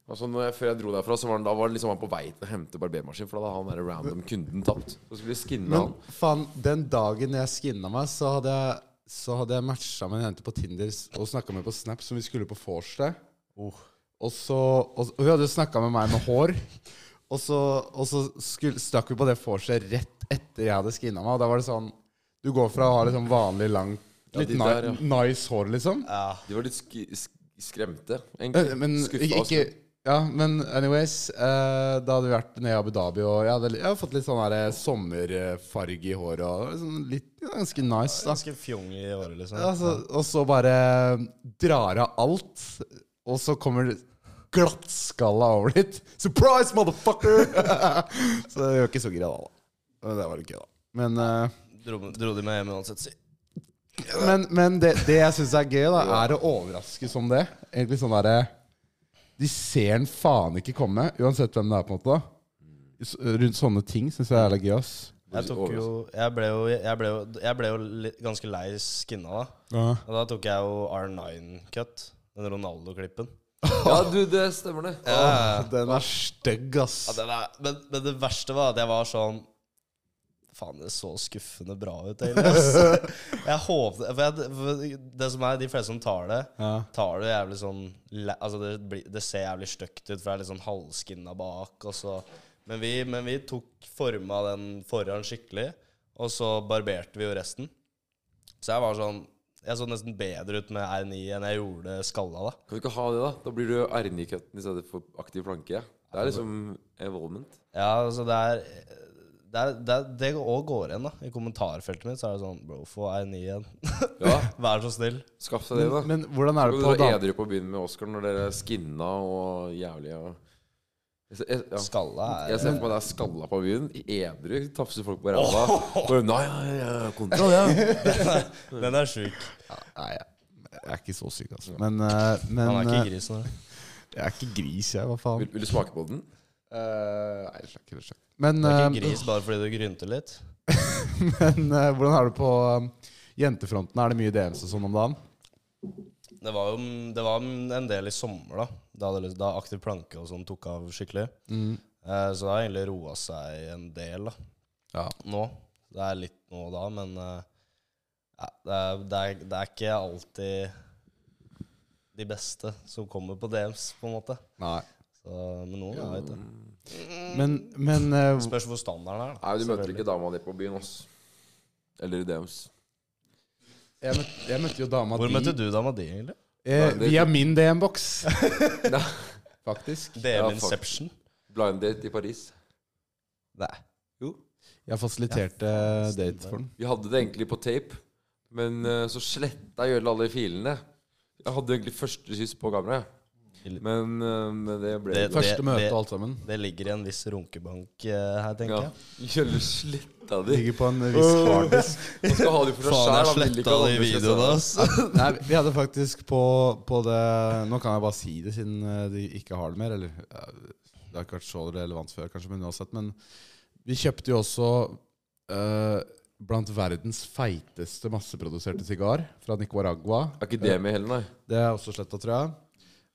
[SPEAKER 1] Og så når jeg, før jeg dro derfra, så var han, da var han liksom han på vei til å hente barbermaskin, for da hadde han der random kunden tapt. Så skulle de skinne
[SPEAKER 3] Men
[SPEAKER 1] han.
[SPEAKER 3] faen, den dagen jeg skinna meg, så hadde jeg så hadde jeg matcha med en jente på Tinder s- og snakka med på Snap som vi skulle på vorsteg.
[SPEAKER 1] Oh.
[SPEAKER 3] Og så og, og Hun hadde jo snakka med meg med hår. Og så, og så skulle, stakk vi på det vorset rett etter jeg hadde skinna meg. Og da var det sånn Du går fra å ha liksom vanlig, langt,
[SPEAKER 1] Ja,
[SPEAKER 3] litt
[SPEAKER 1] de
[SPEAKER 3] ni-
[SPEAKER 1] der, ja.
[SPEAKER 3] nice hår, liksom.
[SPEAKER 1] De var litt sk sk skremte,
[SPEAKER 3] Eh,
[SPEAKER 1] egentlig.
[SPEAKER 3] Men
[SPEAKER 1] Skuffa
[SPEAKER 3] ikke,
[SPEAKER 1] og
[SPEAKER 3] ikke Ja, men anyways. Eh, da hadde vi vært nede i Abu Dhabi, og jeg hadde, jeg hadde fått litt sånn der, eh, sommerfarge i håret. Og sånn litt ganske nice, da.
[SPEAKER 2] Ganske fjong i året, liksom.
[SPEAKER 3] Altså, og så bare drar av alt, og så kommer det glattskalla over dit. Surprise, motherfucker! (laughs) så det var ikke så greia da. da. Men Det var litt gøy, da. Men, eh,
[SPEAKER 2] Dro, dro de meg hjem uansett, si.
[SPEAKER 3] men, men det, det jeg syns er gøy, da, er å overraske som det. Egentlig sånn derre De ser den faen ikke komme, uansett hvem det er, på en måte. da S- Rundt sånne ting syns jeg er litt gøy, ass.
[SPEAKER 2] Jeg, tok jo, jeg, ble jo, jeg, ble jo, jeg ble jo litt, ganske lei skinna da. Og da tok jeg jo R9-cut. Den Ronaldo-klippen.
[SPEAKER 4] Ja, du, det stemmer det.
[SPEAKER 3] Åh, den er stygg, ass.
[SPEAKER 2] Ja, den er- men, men det verste var at jeg var sånn Faen, det så skuffende bra ut, egentlig. ass. Jeg håpte For, jeg, for det som er, de fleste som tar det, tar det jævlig sånn læ- Altså, det, blir- det ser jævlig stygt ut, for det er litt sånn halvskinna bak, og så Men vi, men vi tok forma den foran skikkelig, og så barberte vi jo resten. Så jeg var sånn Jeg så nesten bedre ut med R9 enn jeg gjorde skalla, da.
[SPEAKER 1] Kan vi ikke ha det, da? Da blir du R9-cutten i stedet for aktiv planke. Det er liksom evolvement.
[SPEAKER 2] Ja, altså det er det, er, det, er, det også går igjen, da. I kommentarfeltet mitt så er det sånn Bro, få R9 (laughs) igjen.
[SPEAKER 1] Ja,
[SPEAKER 2] Vær så snill.
[SPEAKER 1] Skaff deg det, da.
[SPEAKER 3] Men hvordan er
[SPEAKER 1] Kan
[SPEAKER 3] det
[SPEAKER 1] du
[SPEAKER 3] på
[SPEAKER 1] dra
[SPEAKER 3] dam-
[SPEAKER 1] edru på byen med Oscar når dere er skinna og jævlig og jeg, ser- jeg, ja.
[SPEAKER 2] Skalla
[SPEAKER 1] jeg
[SPEAKER 2] er
[SPEAKER 1] ser for meg deg skalla på byen. I Edru tafser folk på ræva. Bare, Nei, ja, ja, kontra, ja.
[SPEAKER 2] (laughs) Den er sjuk.
[SPEAKER 3] Nei, jeg, jeg er ikke så syk, altså. Men, eh, men
[SPEAKER 2] Han er ikke
[SPEAKER 3] eh,
[SPEAKER 2] grisen. da.
[SPEAKER 3] jeg er ikke gris, jeg, hva faen.
[SPEAKER 1] Vil, vil du smake på den?
[SPEAKER 3] Eh, nei, slakk, eller slakk. Men,
[SPEAKER 2] Du er
[SPEAKER 3] eh,
[SPEAKER 2] ikke gris bare fordi du grynter litt.
[SPEAKER 3] men eh, hvordan er det på eh, jentefronten? Er det mye DMs og sånn om dagen?
[SPEAKER 2] Det var jo det var en del i sommer, da. Da, hadde, liksom- da aktiv planke og sånn tok av skikkelig.
[SPEAKER 3] Mm.
[SPEAKER 2] Eh, så det har egentlig roa seg en del, da.
[SPEAKER 3] Ja.
[SPEAKER 2] Nå. Det er litt nå og da, men eh, ja, det, er, det, er, det er ikke alltid de beste som kommer på DMs, på en måte.
[SPEAKER 3] Nei.
[SPEAKER 2] Så, men noen jeg vet det.
[SPEAKER 3] Men, men eh,
[SPEAKER 2] Spørs hvor standarden er, da.
[SPEAKER 1] Nei, du møter ikke dama di på byen, ass. Eller i DMs.
[SPEAKER 3] jeg, møtte, jeg møtte jo dama
[SPEAKER 2] Hvor
[SPEAKER 3] di
[SPEAKER 2] møtte du dama di, egentlig?
[SPEAKER 3] Eh,
[SPEAKER 1] Nei, det-
[SPEAKER 3] via min DM-boks,
[SPEAKER 2] (laughs)
[SPEAKER 1] Nei,
[SPEAKER 3] faktisk.
[SPEAKER 2] DM
[SPEAKER 1] Ja, fuck.
[SPEAKER 2] Inception?
[SPEAKER 1] Blind date i Paris.
[SPEAKER 2] Nei.
[SPEAKER 3] Jeg fasiliterte date for den.
[SPEAKER 1] Vi hadde det egentlig på tape, men eh, så sletta Jølle alle filene. Jeg hadde egentlig første kyss på kameraet, men eh, det ble
[SPEAKER 2] Det-
[SPEAKER 3] Første møte
[SPEAKER 2] det-
[SPEAKER 3] og alt sammen.
[SPEAKER 2] Det ligger i en viss runkebank eh, her, tenker
[SPEAKER 1] ja.
[SPEAKER 2] jeg.
[SPEAKER 1] Jølle sletta de.
[SPEAKER 3] Ligger på en viss harddisk.
[SPEAKER 2] (laughs)
[SPEAKER 1] Han skal ha de for seg
[SPEAKER 2] Faen, jeg
[SPEAKER 1] sjæl.
[SPEAKER 2] sletta de videoene, ass.
[SPEAKER 3] Nei, vi hadde faktisk på, på det Nå kan jeg bare si det, siden eh, de ikke har det mer. Eller ja, det har ikke vært så relevant før, kanskje, men uansett. Men vi kjøpte jo også eh, blant verdens feiteste masseproduserte sigar fra Nicaragua.
[SPEAKER 1] Er ikke det med heller, nei.
[SPEAKER 3] Det er også sletta, tror jeg.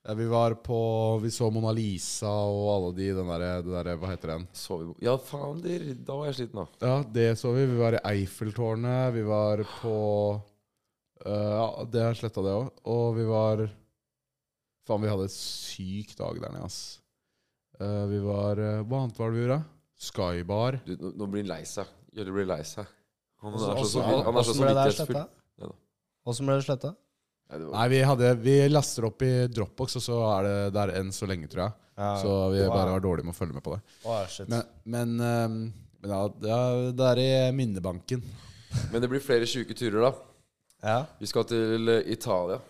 [SPEAKER 3] Eh, Vi var på Vi så Mona Lisa og alle de den derre der, Hva heter den?
[SPEAKER 1] Så vi Ja, faen, der, da var jeg sliten, da.
[SPEAKER 3] Ja, det så vi. Vi var i Eiffeltårnet. Vi var på eh, Ja, det er sletta, det òg. Og vi var Faen, vi hadde en syk dag der nede, ass. Eh, vi var eh, Hva annet var det vi gjorde? Skybar.
[SPEAKER 1] Du, nå, nå blir han lei seg. Jølle blir lei seg. Han er så- så han er så
[SPEAKER 2] Åssen ble det sletta?
[SPEAKER 1] samvittighetsfull. Ja da.
[SPEAKER 2] Åssen ble det sletta?
[SPEAKER 1] Nei, det var-
[SPEAKER 3] Nei, vi, hadde, vi laster opp i Dropbox, og så er det der enn så lenge, tror jeg. Så vi
[SPEAKER 2] Wow.
[SPEAKER 3] bare var dårlige med å følge med på det.
[SPEAKER 2] Å, shit.
[SPEAKER 3] Men, men, eh, men ja, det er- det er i minnebanken.
[SPEAKER 1] Men det blir flere sjuke turer, da.
[SPEAKER 2] Ja.
[SPEAKER 1] Vi skal til eh, Italia.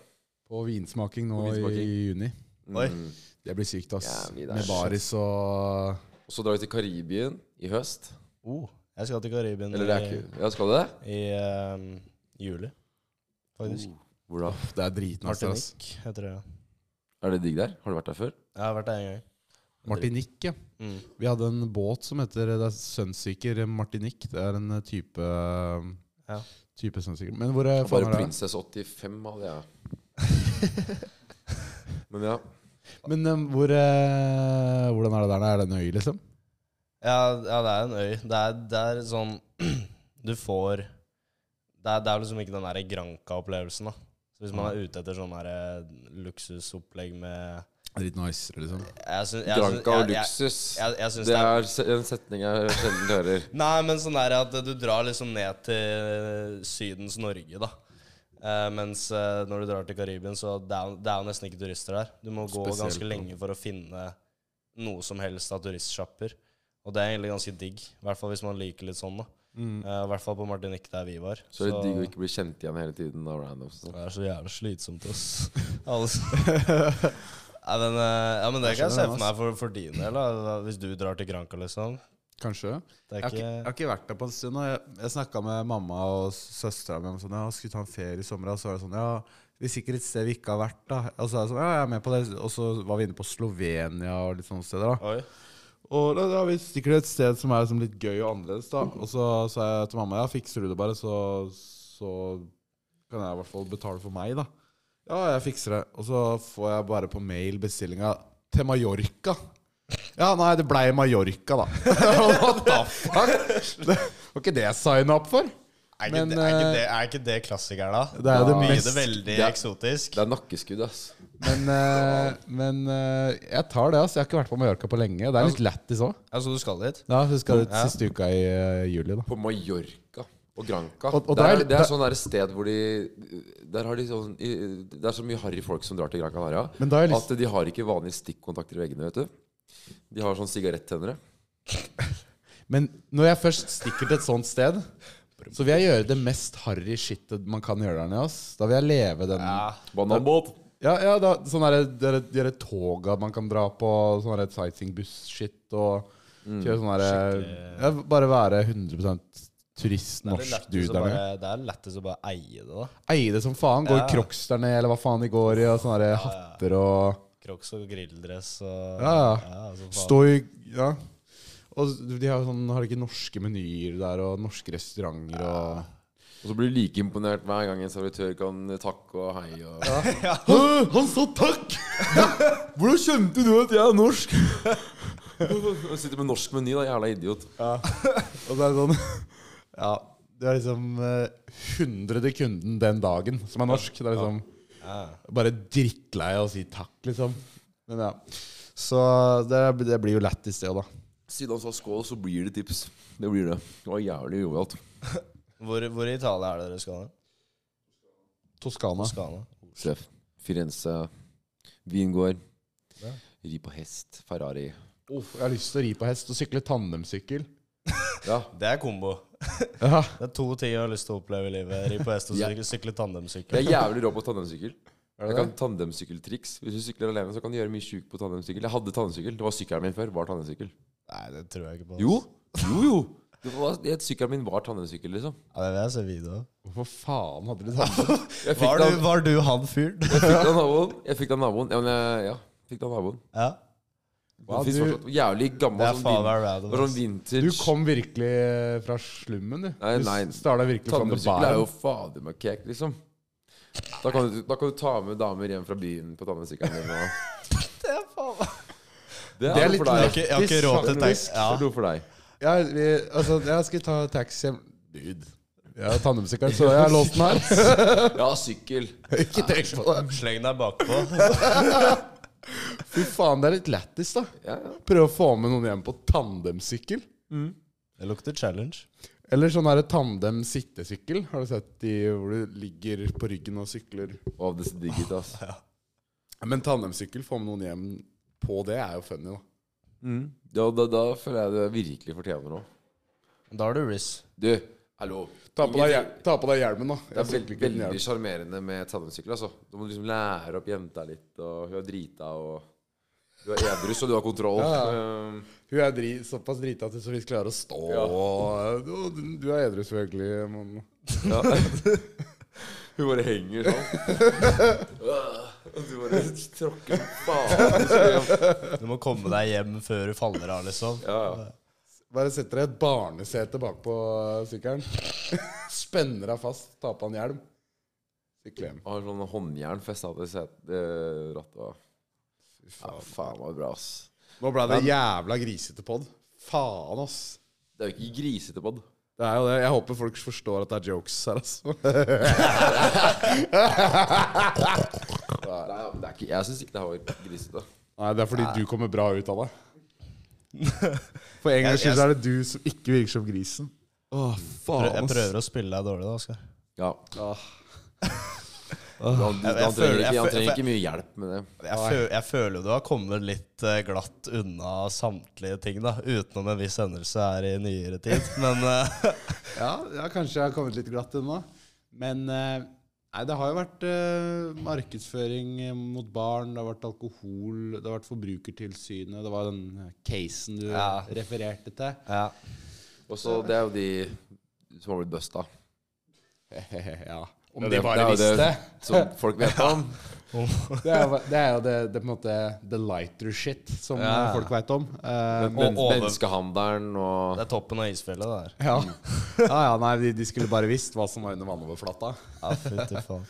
[SPEAKER 3] På vinsmaking nå
[SPEAKER 1] vinsmaking.
[SPEAKER 3] i juni.
[SPEAKER 2] Oi.
[SPEAKER 1] Mm.
[SPEAKER 3] Det blir sykt, ass.
[SPEAKER 1] Jævlig, det er
[SPEAKER 3] Med
[SPEAKER 1] så-
[SPEAKER 3] baris og
[SPEAKER 1] Og så drar vi til Karibien i høst.
[SPEAKER 2] Oh, jeg skal til Karibien
[SPEAKER 1] Eller det er
[SPEAKER 2] i,
[SPEAKER 1] ikke Ja, skal du det?
[SPEAKER 2] i eh, juli, faktisk.
[SPEAKER 1] Hvor da?
[SPEAKER 3] Det er
[SPEAKER 2] Oh,
[SPEAKER 3] dritnice. ass.
[SPEAKER 2] Martinique heter det. ja.
[SPEAKER 1] Er det digg der? Har du vært der før?
[SPEAKER 2] Jeg har vært der en gang.
[SPEAKER 3] Martinique. ja.
[SPEAKER 2] Mm.
[SPEAKER 3] Vi hadde en båt som heter det er Sunseeker Martinique. Det er en eh, type
[SPEAKER 2] Ja.
[SPEAKER 3] Type Sunseeker. Men hvor eh, faen
[SPEAKER 1] Bare
[SPEAKER 3] er det?
[SPEAKER 1] Prinsesse 85 hadde jeg. Men ja.
[SPEAKER 3] Men eh, hvor, eh, hvordan er det der? Er det en øy, liksom?
[SPEAKER 2] (clears throat) Ja, ja, det er en øy. Det er, det er sånn Du får det er, det er liksom ikke den der Granca-opplevelsen, da. Så hvis man er ute etter sånn der eh, luksusopplegg med
[SPEAKER 3] Litt nicer, liksom.
[SPEAKER 2] jeg syns- jeg syns-
[SPEAKER 1] Granca og
[SPEAKER 2] jeg- jeg-
[SPEAKER 1] luksus.
[SPEAKER 2] jeg- jeg
[SPEAKER 1] Det
[SPEAKER 2] syns det er-
[SPEAKER 1] er se- en setning jeg sjelden hører.
[SPEAKER 2] Nei, men sånn er det at du drar liksom ned til eh, Sydens Norge, da. Eh, mens eh, når du drar til Karibien, så det er, det er jo nesten ikke turister der. Du må gå
[SPEAKER 1] Spesielt,
[SPEAKER 2] ganske lenge for å finne noe som helst av turistsjapper. Og det er egentlig ganske digg. I hvert fall hvis man liker litt sånn, da. Eh, I hvert fall på Martinique, der vi var.
[SPEAKER 1] Så er det digg å ikke bli kjent igjen hele tiden av randoms. og sånt.
[SPEAKER 2] Det er så jævlig slitsomt, ass. (laughs) Altså. Nei, men, eh, ja, men det kan jeg se
[SPEAKER 3] skjønner den,
[SPEAKER 2] for meg for, for din del, da. Hvis du drar til Granca, liksom.
[SPEAKER 3] Kanskje.
[SPEAKER 2] Det
[SPEAKER 3] Jeg
[SPEAKER 2] er
[SPEAKER 3] har, ikke, jeg
[SPEAKER 2] ikke
[SPEAKER 3] har ikke vært der på en stund. og Jeg, jeg snakka med mamma og søstera mi om sånn, ja, skulle ta en ferie i sommer. Og så var det sånn, ja, hvis ikke et sted vi ikke har vært, da. Og så, er jeg sånn, ja, jeg er med på det. Og så var vi inne på Slovenia og litt sånne steder. da
[SPEAKER 2] Oi.
[SPEAKER 3] Og da, da er vi sikkert et sted som er liksom litt gøy og annerledes, da. Og så sa jeg til mamma ja, fikser du det bare, så, så kan jeg i hvert fall betale for meg, da. Ja, jeg fikser det. Og så får jeg bare på mail bestillinga til Mallorca. Ja, nei, det blei Mallorca, da. (laughs) What the fuck? Det var ikke det jeg signa opp for.
[SPEAKER 2] Er ikke,
[SPEAKER 3] Men,
[SPEAKER 2] det, er, ikke
[SPEAKER 3] eh,
[SPEAKER 2] det, er ikke det klassikeren, da?
[SPEAKER 3] Det er jo det
[SPEAKER 2] Da blir
[SPEAKER 3] mest-
[SPEAKER 2] det veldig
[SPEAKER 1] det er-
[SPEAKER 2] eksotisk.
[SPEAKER 1] Det er nakkeskudd, ass.
[SPEAKER 3] Men, eh, men eh, jeg tar det, altså. Jeg har ikke vært på Mallorca på lenge. Det er litt lættis òg.
[SPEAKER 2] Ja, Så du skal dit?
[SPEAKER 3] Ja, huska du
[SPEAKER 2] Ja.
[SPEAKER 3] siste uka i eh, juli, da.
[SPEAKER 1] På Mallorca og Granca.
[SPEAKER 3] Og- og
[SPEAKER 1] det,
[SPEAKER 3] der-
[SPEAKER 1] er, det
[SPEAKER 3] der-
[SPEAKER 1] er sånn der sted hvor de Der har de sånn i- Det er så mye harry folk som drar til Gran Canaria
[SPEAKER 3] Men da har jeg lyst-
[SPEAKER 1] at de har ikke vanlige stikkontakter i veggene, vet du. De har sånn sigarettennere.
[SPEAKER 3] Men når jeg først stikker til et sånt sted, så vil jeg gjøre det mest harry shitet man kan gjøre der nede. ass. Da vil jeg leve den Ja,
[SPEAKER 1] Bananbåt.
[SPEAKER 3] ja, da, sånn derre der, der toga man kan dra på, sånn derre sightseeingbuss-shit og
[SPEAKER 2] Mm.
[SPEAKER 3] kjøre sånn derre ja, Bare være 100 turist,
[SPEAKER 2] Det er litt
[SPEAKER 3] norsk
[SPEAKER 2] lettest
[SPEAKER 3] dude
[SPEAKER 2] å
[SPEAKER 3] der
[SPEAKER 2] bare,
[SPEAKER 3] nede.
[SPEAKER 2] det er lettest å bare eie det, da.
[SPEAKER 3] Eie det som faen. Gå i
[SPEAKER 2] Ja.
[SPEAKER 3] crocs der nede, eller hva faen de går i, og sånne derre hatter og
[SPEAKER 2] Crocs og grilldress og
[SPEAKER 3] Ja, ja.
[SPEAKER 2] altså, faen.
[SPEAKER 3] Stå i Ja. Og de har, sånn, har de ikke norske menyer der, og norske restauranter og
[SPEAKER 1] Og så blir du like imponert hver gang en servitør kan takke og hei og
[SPEAKER 3] Hæ? Han sa takk! Hvordan skjønte du at jeg er norsk?
[SPEAKER 1] (laughs) Og Sitter med norsk meny, da. Jævla idiot.
[SPEAKER 3] Og så er det sånn Ja, du er liksom eh, hundrede kunden den dagen som er norsk. Det er liksom bare drittlei av å si takk, liksom. Men ja. Så det, det blir jo lett i sted, da.
[SPEAKER 1] Siden han sa skål, så blir det tips. Det blir det. Det var jævlig jovialt.
[SPEAKER 2] Hvor, hvor i Italia er det dere skal? da?
[SPEAKER 3] Toskana.
[SPEAKER 2] Skana.
[SPEAKER 1] Sjef. Firenze. Vingård. Ri på hest. Ferrari.
[SPEAKER 3] Uff, jeg har lyst til å ri på hest og sykle tandemsykkel.
[SPEAKER 1] Ja.
[SPEAKER 2] Det er kombo.
[SPEAKER 3] Ja.
[SPEAKER 2] Det er to ting jeg har lyst til å oppleve i livet. Ri på hest
[SPEAKER 1] (laughs)
[SPEAKER 2] og
[SPEAKER 1] Ja.
[SPEAKER 2] sykle, sykle tandemsykkel.
[SPEAKER 1] Jeg er jævlig rå på tandemsykkel. Jeg
[SPEAKER 3] det?
[SPEAKER 1] kan tandemsykkeltriks. Hvis du sykler alene, så kan du gjøre mye sjukt på tandemsykkel. Jeg hadde tandemsykkel. Det var sykkelen min før. Var tandemsykkel.
[SPEAKER 2] Nei, det tror jeg ikke på. ass.
[SPEAKER 1] Jo! Jo, jo! Det var, det- sykkelen min var tandemsykkel, liksom.
[SPEAKER 2] Ja, det vil jeg se video av.
[SPEAKER 3] Hvorfor faen hadde du tandem?
[SPEAKER 1] Jeg fikk
[SPEAKER 2] (laughs) Var,
[SPEAKER 1] det av-
[SPEAKER 2] du- var du han fyren?
[SPEAKER 1] jeg fikk det av naboen. Jeg fikk det av naboen. Ja, men jeg, ja. Fikk det av naboen.
[SPEAKER 2] ja.
[SPEAKER 1] Det
[SPEAKER 3] Hva,
[SPEAKER 1] finnes
[SPEAKER 3] du-
[SPEAKER 1] fortsatt jævlig gammel
[SPEAKER 2] Det er
[SPEAKER 1] sånn,
[SPEAKER 2] faen
[SPEAKER 1] vin,
[SPEAKER 2] meg
[SPEAKER 1] det
[SPEAKER 2] random.
[SPEAKER 1] var sånn
[SPEAKER 2] ass.
[SPEAKER 1] vintage
[SPEAKER 3] Du kom virkelig fra slummen, du.
[SPEAKER 1] Nei, nei.
[SPEAKER 3] Du starta virkelig fra the
[SPEAKER 1] Tandemsykkel er jo
[SPEAKER 3] bottom.
[SPEAKER 1] fader meg kek, liksom. Da kan, du, da kan du ta med damer hjem fra byen på tandemsykkelen din. Og... Det
[SPEAKER 3] Det er
[SPEAKER 1] er noe
[SPEAKER 3] litt
[SPEAKER 1] for
[SPEAKER 2] Jeg har
[SPEAKER 1] deg.
[SPEAKER 2] ikke, jeg har ikke råd til taxi.
[SPEAKER 1] Det
[SPEAKER 2] Ja.
[SPEAKER 1] er noe for deg.
[SPEAKER 3] Ja, vi, altså, jeg skal ta taxi hjem. Dude. Jeg har tandemsykkelen, (laughs) så jeg har låst den her.
[SPEAKER 1] Ja, sykkel.
[SPEAKER 3] (laughs) Ikke tenk på det.
[SPEAKER 2] Sleng deg bakpå.
[SPEAKER 1] (laughs)
[SPEAKER 3] Fy faen, det er litt lættis, da.
[SPEAKER 1] Ja, ja.
[SPEAKER 3] Prøve å få med noen hjem på tandemsykkel.
[SPEAKER 2] Det lukter challenge.
[SPEAKER 3] Eller sånn her tandem-sittesykkel. Har du sett de hvor du ligger på ryggen og sykler?
[SPEAKER 1] Å, det er så digg ut, ass.
[SPEAKER 3] Men tandemsykkel, få med noen hjem på det, er jo funny, da.
[SPEAKER 1] Da, da, da føler jeg det virkelig fortjener noe.
[SPEAKER 2] Da har du Riz.
[SPEAKER 1] Du, hallo.
[SPEAKER 3] Ta på deg, hjel- ta på deg hjelmen, da.
[SPEAKER 1] Det
[SPEAKER 3] Jeg
[SPEAKER 1] er
[SPEAKER 3] sykler
[SPEAKER 1] veldig,
[SPEAKER 3] ikke uten
[SPEAKER 1] veldig
[SPEAKER 3] hjelm.
[SPEAKER 1] sjarmerende med tandemsykkel. Altså. Du må liksom lære opp jenta litt, og hun er drita, og du er edru, så du har kontroll.
[SPEAKER 3] Ja,
[SPEAKER 1] Um,
[SPEAKER 3] Hun er dri, såpass drita at hun så vidt klarer å stå.
[SPEAKER 1] Ja.
[SPEAKER 3] og Du, du er edru, selvfølgelig. Men
[SPEAKER 1] Ja. (laughs) Hun bare henger sånn. Og du bare tråkker faen.
[SPEAKER 2] Du må komme deg hjem før du faller av, liksom.
[SPEAKER 1] Ja, ja.
[SPEAKER 3] bare setter deg i et barnesete bakpå sykkelen. (laughs) Spenner deg fast, tar på en hjelm. Sykler hjem.
[SPEAKER 1] Har sånn håndjern festa til set- eh, rattet. Ja, faen det var bra, ass.
[SPEAKER 3] Nå ble det jævla grisete pod. Faen, ass.
[SPEAKER 1] Det er jo ikke grisete pod.
[SPEAKER 5] Det er jo det. Jeg håper folk forstår at det er jokes her, altså.
[SPEAKER 1] Nei, ja, men det er ikke, jeg syns ikke det var grisete.
[SPEAKER 3] Nei, det er fordi du kommer bra ut
[SPEAKER 5] (laughs)
[SPEAKER 3] av det. For en gangs skyld så er det du som ikke virker som grisen. Åh, faen,
[SPEAKER 2] Jeg
[SPEAKER 3] ass.
[SPEAKER 2] prøver å spille deg dårlig, da, Oskar.
[SPEAKER 1] Ja. Han, han,
[SPEAKER 2] Jeg- jeg
[SPEAKER 1] trenger
[SPEAKER 2] føler-
[SPEAKER 1] ikke,
[SPEAKER 2] jeg
[SPEAKER 1] han
[SPEAKER 2] føler-
[SPEAKER 1] trenger ikke mye hjelp med det.
[SPEAKER 2] Jeg, føl, jeg føler jo du har kommet litt eh, glatt unna samtlige ting, da. Utenom en viss hendelse her i nyere
[SPEAKER 1] (laughs)
[SPEAKER 2] tid. Men eh,
[SPEAKER 3] Ja, ja, kanskje jeg har kommet litt glatt unna. Men eh, nei, det har jo vært eh, markedsføring mot barn, det har vært alkohol, det har vært Forbrukertilsynet, det var den casen du
[SPEAKER 2] Ja.
[SPEAKER 3] refererte til.
[SPEAKER 2] ja.
[SPEAKER 1] Og så det er jo de som har blitt busta.
[SPEAKER 3] (laughs) ja. Om
[SPEAKER 1] det-
[SPEAKER 3] de
[SPEAKER 1] det
[SPEAKER 3] bare
[SPEAKER 1] er jo det.
[SPEAKER 3] visste.
[SPEAKER 1] Som folk vet om.
[SPEAKER 3] (laughs) Det er, jo- det er jo det, det på en måte the lighter shit som
[SPEAKER 2] Ja.
[SPEAKER 3] eh, folk veit om. Eh,
[SPEAKER 1] Men,
[SPEAKER 2] Og over-
[SPEAKER 1] menneskehandelen og
[SPEAKER 2] Det er toppen av isfjellet, det her.
[SPEAKER 3] (laughs) ja. ja, ja, nei, de, de skulle bare visst hva som var under vannoverflata.
[SPEAKER 2] Ja, fytti faen.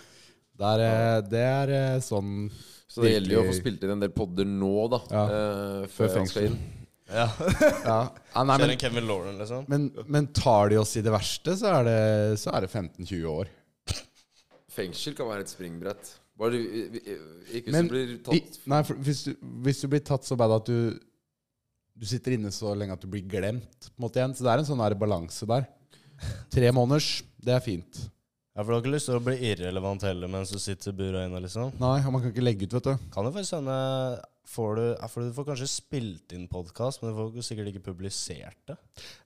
[SPEAKER 3] Det er, eh, det er eh, sånn
[SPEAKER 1] Så det gjelder jo å få
[SPEAKER 3] virkelig-
[SPEAKER 1] spilt inn en del podder nå, da.
[SPEAKER 3] Ja.
[SPEAKER 1] eh,
[SPEAKER 3] Før
[SPEAKER 1] før han skal
[SPEAKER 3] fengsel.
[SPEAKER 1] inn.
[SPEAKER 2] (laughs) Ja.
[SPEAKER 3] ja. ja, nei, men,
[SPEAKER 2] Kjører en Kevin Lauren, liksom.
[SPEAKER 3] Men, men tar de oss i det verste, så er det, så er det 15-20 år.
[SPEAKER 1] Fengsel kan være et springbrett. Bare du i- i- ikke hvis
[SPEAKER 3] Men
[SPEAKER 1] du blir
[SPEAKER 3] I,
[SPEAKER 1] tatt
[SPEAKER 3] nei, for hvis, du, hvis du blir tatt så bad at du, du sitter inne så lenge at du blir glemt, på en måte igjen. Så det er en sånn der balanse der. Tre måneders, det er fint.
[SPEAKER 2] Ja, for du har ikke lyst til å bli irrelevant heller mens du sitter i bura inne, liksom.
[SPEAKER 3] Nei, og man kan ikke legge ut, vet du.
[SPEAKER 2] Kan jo faktisk hende får du, ja, for du får kanskje spilt inn podkast, men du får sikkert ikke publisert det.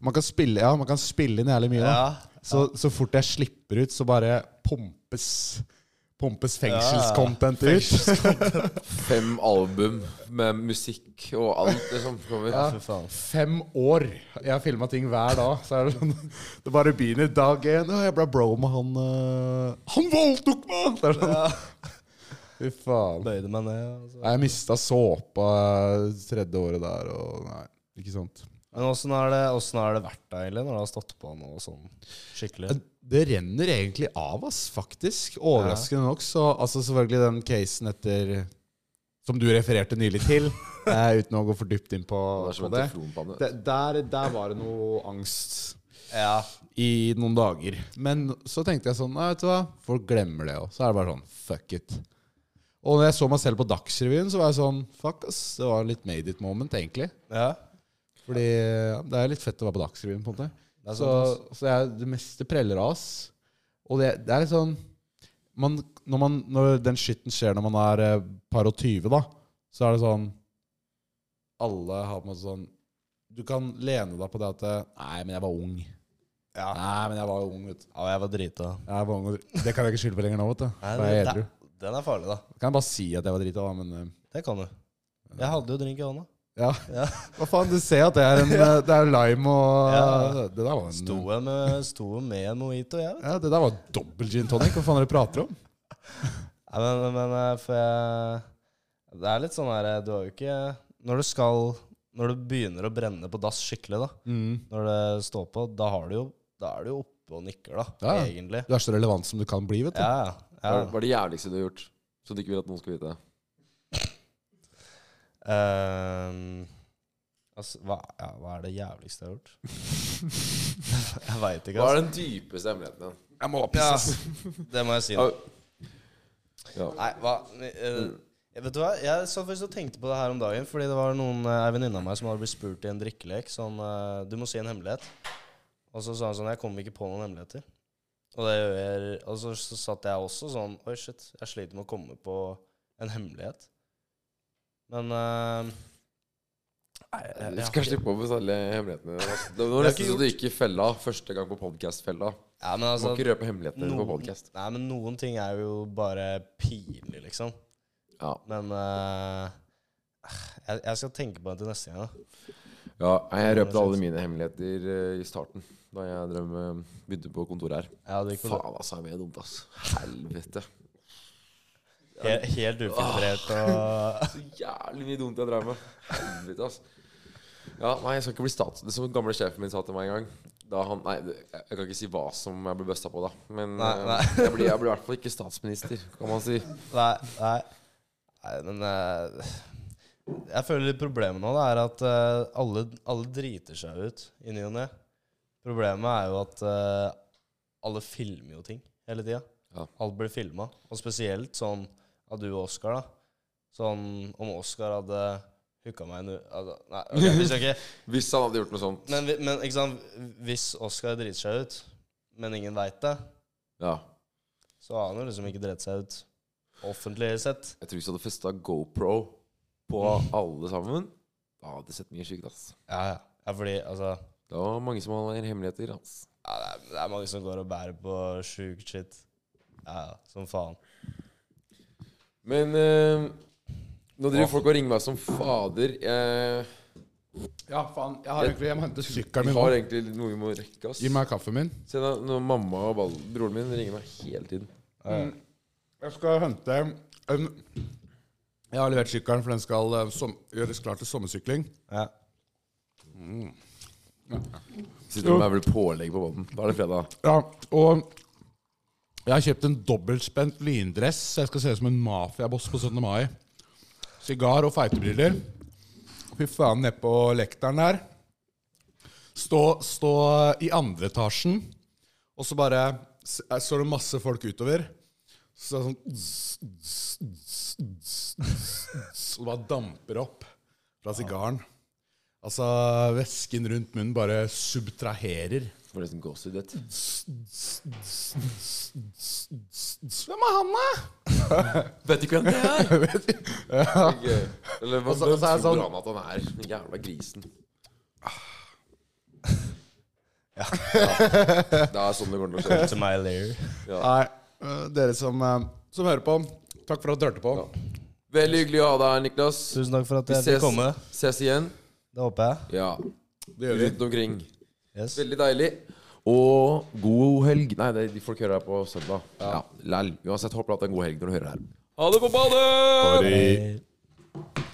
[SPEAKER 3] Man kan spille, ja, man kan spille inn jævlig mye. da.
[SPEAKER 2] Ja,
[SPEAKER 3] Så, så fort jeg slipper ut, så bare pumpes, pumpes fengselscontent ut.
[SPEAKER 1] fem album med musikk og alt det som kommer.
[SPEAKER 2] fy faen.
[SPEAKER 3] Fem år. Jeg har filma ting hver dag. Så er det, sånn, (laughs) det bare begynner dag én. «Å, Jeg ble bro med han øh, Han voldtok meg! Det er sånn. (laughs) Fy faen.
[SPEAKER 2] Bøyde meg ned. Altså.
[SPEAKER 3] Nei, Jeg mista såpa eh, tredje året der, og nei, ikke sant.
[SPEAKER 2] Men åssen har det, hvordan har det vært deg, egentlig, når du har stått på nå og sånn skikkelig?
[SPEAKER 3] Det renner egentlig av, ass, faktisk. Overraskende nok. Så altså, selvfølgelig den casen etter Som du refererte nylig (laughs) til, eh, uten å gå for dypt inn på
[SPEAKER 1] Det er som
[SPEAKER 3] på
[SPEAKER 1] en
[SPEAKER 3] det.
[SPEAKER 1] teflonpanne.
[SPEAKER 3] det der, der var det noe angst.
[SPEAKER 2] Ja.
[SPEAKER 3] i noen dager. Men så tenkte jeg sånn Nei, vet du hva, folk glemmer det jo. Så er det bare sånn fuck it. Og når jeg så meg selv på Dagsrevyen, så var jeg sånn fuck ass. Det var litt made it moment, egentlig.
[SPEAKER 2] ja.
[SPEAKER 3] Fordi ja, det er litt fett å være på Dagsrevyen, på en måte.
[SPEAKER 2] er sånn
[SPEAKER 3] Så, så jeg, det meste preller av oss. Og det, det er litt sånn man, når, man, når den skitten skjer når man er eh, par og 20, da, så er det sånn Alle har på en måte sånn Du kan lene deg på det at eh, Nei, men jeg var ung.
[SPEAKER 2] Ja.
[SPEAKER 3] Nei, men jeg var ung, vet du.
[SPEAKER 2] ja, jeg var drita.
[SPEAKER 3] Jeg var ung og dri- Det kan jeg ikke skylde på lenger nå, vet du. For jeg er edru.
[SPEAKER 2] den er farlig, da.
[SPEAKER 3] Kan jeg bare si at jeg var drita, da, men eh,
[SPEAKER 2] Det kan du. Jeg hadde jo drink i hånda.
[SPEAKER 3] ja.
[SPEAKER 2] Ja.
[SPEAKER 3] Hva faen, du ser at det
[SPEAKER 2] (laughs)
[SPEAKER 3] er, en, eh, det er lime og
[SPEAKER 2] Ja.
[SPEAKER 3] Det der var en
[SPEAKER 2] Sto jeg med, sto jeg med en mojito, jeg, vet du.
[SPEAKER 3] Ja, Det der var dobbel gin tonic. Hva faen er det dere prater om?
[SPEAKER 2] Nei, men, men eh, for jeg Det er litt sånn her eh, Du har jo ikke Når du skal Når du begynner å brenne på dass skikkelig, da, når det står på, da har du jo Da er du jo oppe og nikker, da,
[SPEAKER 3] Ja.
[SPEAKER 2] egentlig.
[SPEAKER 3] Du er så relevant som du kan bli, vet du.
[SPEAKER 2] Ja, ja.
[SPEAKER 1] Hva er- hva er det jævligste du har gjort? Som du ikke vil at noen skal vite?
[SPEAKER 2] Ehm, altså, hva, ja, hva er det jævligste jeg har gjort? (laughs) jeg veit ikke,
[SPEAKER 1] Hva
[SPEAKER 2] altså.
[SPEAKER 1] er den dypeste hemmeligheten din?
[SPEAKER 3] Jeg må
[SPEAKER 2] Ja, det må jeg si. nå.
[SPEAKER 1] Ja.
[SPEAKER 2] Nei, hva eh, Vet du hva, jeg så faktisk og tenkte på det her om dagen, fordi det var noen, eh, ei venninne av meg som hadde blitt spurt i en drikkelek sånn eh, Du må si en hemmelighet. Og så sa han sånn Jeg kommer ikke på noen hemmeligheter. Og, det gjør jeg, og så, så satt jeg også sånn Oi, shit, jeg sliter med å komme på en hemmelighet. Men eh, Nei, jeg, jeg,
[SPEAKER 1] Eh, Du skal
[SPEAKER 2] har ikke-
[SPEAKER 1] slippe å bestille hemmelighetene. dine, altså. Det var
[SPEAKER 2] har
[SPEAKER 1] nesten
[SPEAKER 2] ikke
[SPEAKER 1] så du gikk i fella første gang på podcast-fella.
[SPEAKER 2] ja,
[SPEAKER 1] Du
[SPEAKER 2] men
[SPEAKER 1] må
[SPEAKER 2] altså,
[SPEAKER 1] ikke røpe hemmelighetene dine på
[SPEAKER 2] noen,
[SPEAKER 1] podcast.
[SPEAKER 2] nei, men noen ting er jo bare pinlig, liksom.
[SPEAKER 1] Ja.
[SPEAKER 2] Men eh, jeg, jeg skal tenke på det til neste gang. da.
[SPEAKER 1] ja, nei, jeg røpte alle mine hemmeligheter eh, i starten, da jeg drev med, begynte på kontoret her.
[SPEAKER 2] Ja, det gikk på
[SPEAKER 1] Faen, altså, jeg er mye dumt, ass. Helvete. (laughs)
[SPEAKER 2] Helt, helt ufiltrert og
[SPEAKER 1] Så Altså, jævlig mye dumt jeg drev med. Helvete, ass. Ja, nei, jeg skal ikke bli stats... Det som gamle sjefen min sa til meg en gang da han, Nei, det- jeg kan ikke si hva som jeg ble busta på, da. Men
[SPEAKER 2] Nei,
[SPEAKER 1] eh,
[SPEAKER 2] nei.
[SPEAKER 1] jeg blir jeg blir i hvert fall ikke statsminister, kan man si.
[SPEAKER 2] Nei, nei. nei men eh, Jeg føler litt problemet nå det er at eh, alle, alle driter seg ut i ny og ne. Problemet er jo at eh, alle filmer jo ting hele tida.
[SPEAKER 1] Ja.
[SPEAKER 2] Alt blir filma. Og spesielt sånn av du og Oskar, da. Sånn om Oskar hadde hooka meg nu... altså, Nei, ok, vi skal ikke
[SPEAKER 1] Hvis han hadde gjort noe sånt.
[SPEAKER 2] Men, vi- men ikke sant, hvis Oskar driter seg ut, men ingen veit det,
[SPEAKER 1] Ja.
[SPEAKER 2] så har han jo liksom ikke dritt seg ut offentlig sett.
[SPEAKER 1] Jeg tror hvis du hadde festa GoPro på alle sammen, da hadde det sett mye sykt, ass.
[SPEAKER 2] Ja, ja. ja fordi altså
[SPEAKER 1] Det var mange som hadde hemmeligheter, ass.
[SPEAKER 2] ja, det, er, det er mange som går og bærer på sjukt shit. Ja, ja, som faen.
[SPEAKER 1] Men eh, nå driver folk og ringer meg som fader. Jeg,
[SPEAKER 5] Ja, faen. Jeg har egentlig Jeg må hente sykkelen.
[SPEAKER 1] vi
[SPEAKER 3] Sykkelen min
[SPEAKER 1] har
[SPEAKER 3] nå.
[SPEAKER 1] egentlig noe vi må rekke, ass.
[SPEAKER 3] Gi meg kaffen min.
[SPEAKER 1] Se da, når mamma og ball, broren min ringer meg hele tiden.
[SPEAKER 3] Jeg skal hente en Jeg har levert sykkelen, for den skal eh, som, gjøres klar til sommersykling.
[SPEAKER 2] Ja.
[SPEAKER 1] Sitter og mauler pålegg på båten. Da er det fredag.
[SPEAKER 3] Ja, og jeg har kjøpt en dobbeltspent lyndress. så Jeg skal se ut som en mafiaboss på 17. mai. Sigar og feitebriller. Fy faen, nede på lekteren der. Stå, stå i andre etasjen, og så bare s- eh, står det masse folk utover. Så er det sånn zzz, zzz, zzz, zzz, zzz, Og det bare damper opp fra sigaren. Altså, væsken rundt munnen bare subtraherer.
[SPEAKER 1] Forresten gåsehud. vet du.
[SPEAKER 3] Hvem er han, da?
[SPEAKER 1] Vet ikke hvem det er!
[SPEAKER 3] (laughs)
[SPEAKER 1] Eller hva
[SPEAKER 3] Og så-
[SPEAKER 1] hvem
[SPEAKER 3] og så
[SPEAKER 1] tror
[SPEAKER 3] er jeg sånn- Ah.
[SPEAKER 1] han at han er? Den jævla grisen.
[SPEAKER 3] (laughs)
[SPEAKER 1] Ja. Det er sånn det kommer til å skje.
[SPEAKER 2] To my layer.
[SPEAKER 3] Nei, øh, dere som, øh, som hører på, takk for at dere hørte på.
[SPEAKER 1] Veldig hyggelig å ha deg her, Niklas.
[SPEAKER 2] Tusen takk for at
[SPEAKER 1] Vi
[SPEAKER 2] jeg fikk
[SPEAKER 1] ses,
[SPEAKER 2] komme.
[SPEAKER 1] ses igjen.
[SPEAKER 2] Det håper jeg.
[SPEAKER 1] Ja.
[SPEAKER 3] Det gjør vi.
[SPEAKER 1] Rundt omkring.
[SPEAKER 2] Yes.
[SPEAKER 1] Veldig deilig. Og god helg. Nei, det, folk hører her på søndag. Ja, Læl. Uansett, håper du har hatt en god helg når du hører her. Ha det på badet!
[SPEAKER 2] Hei.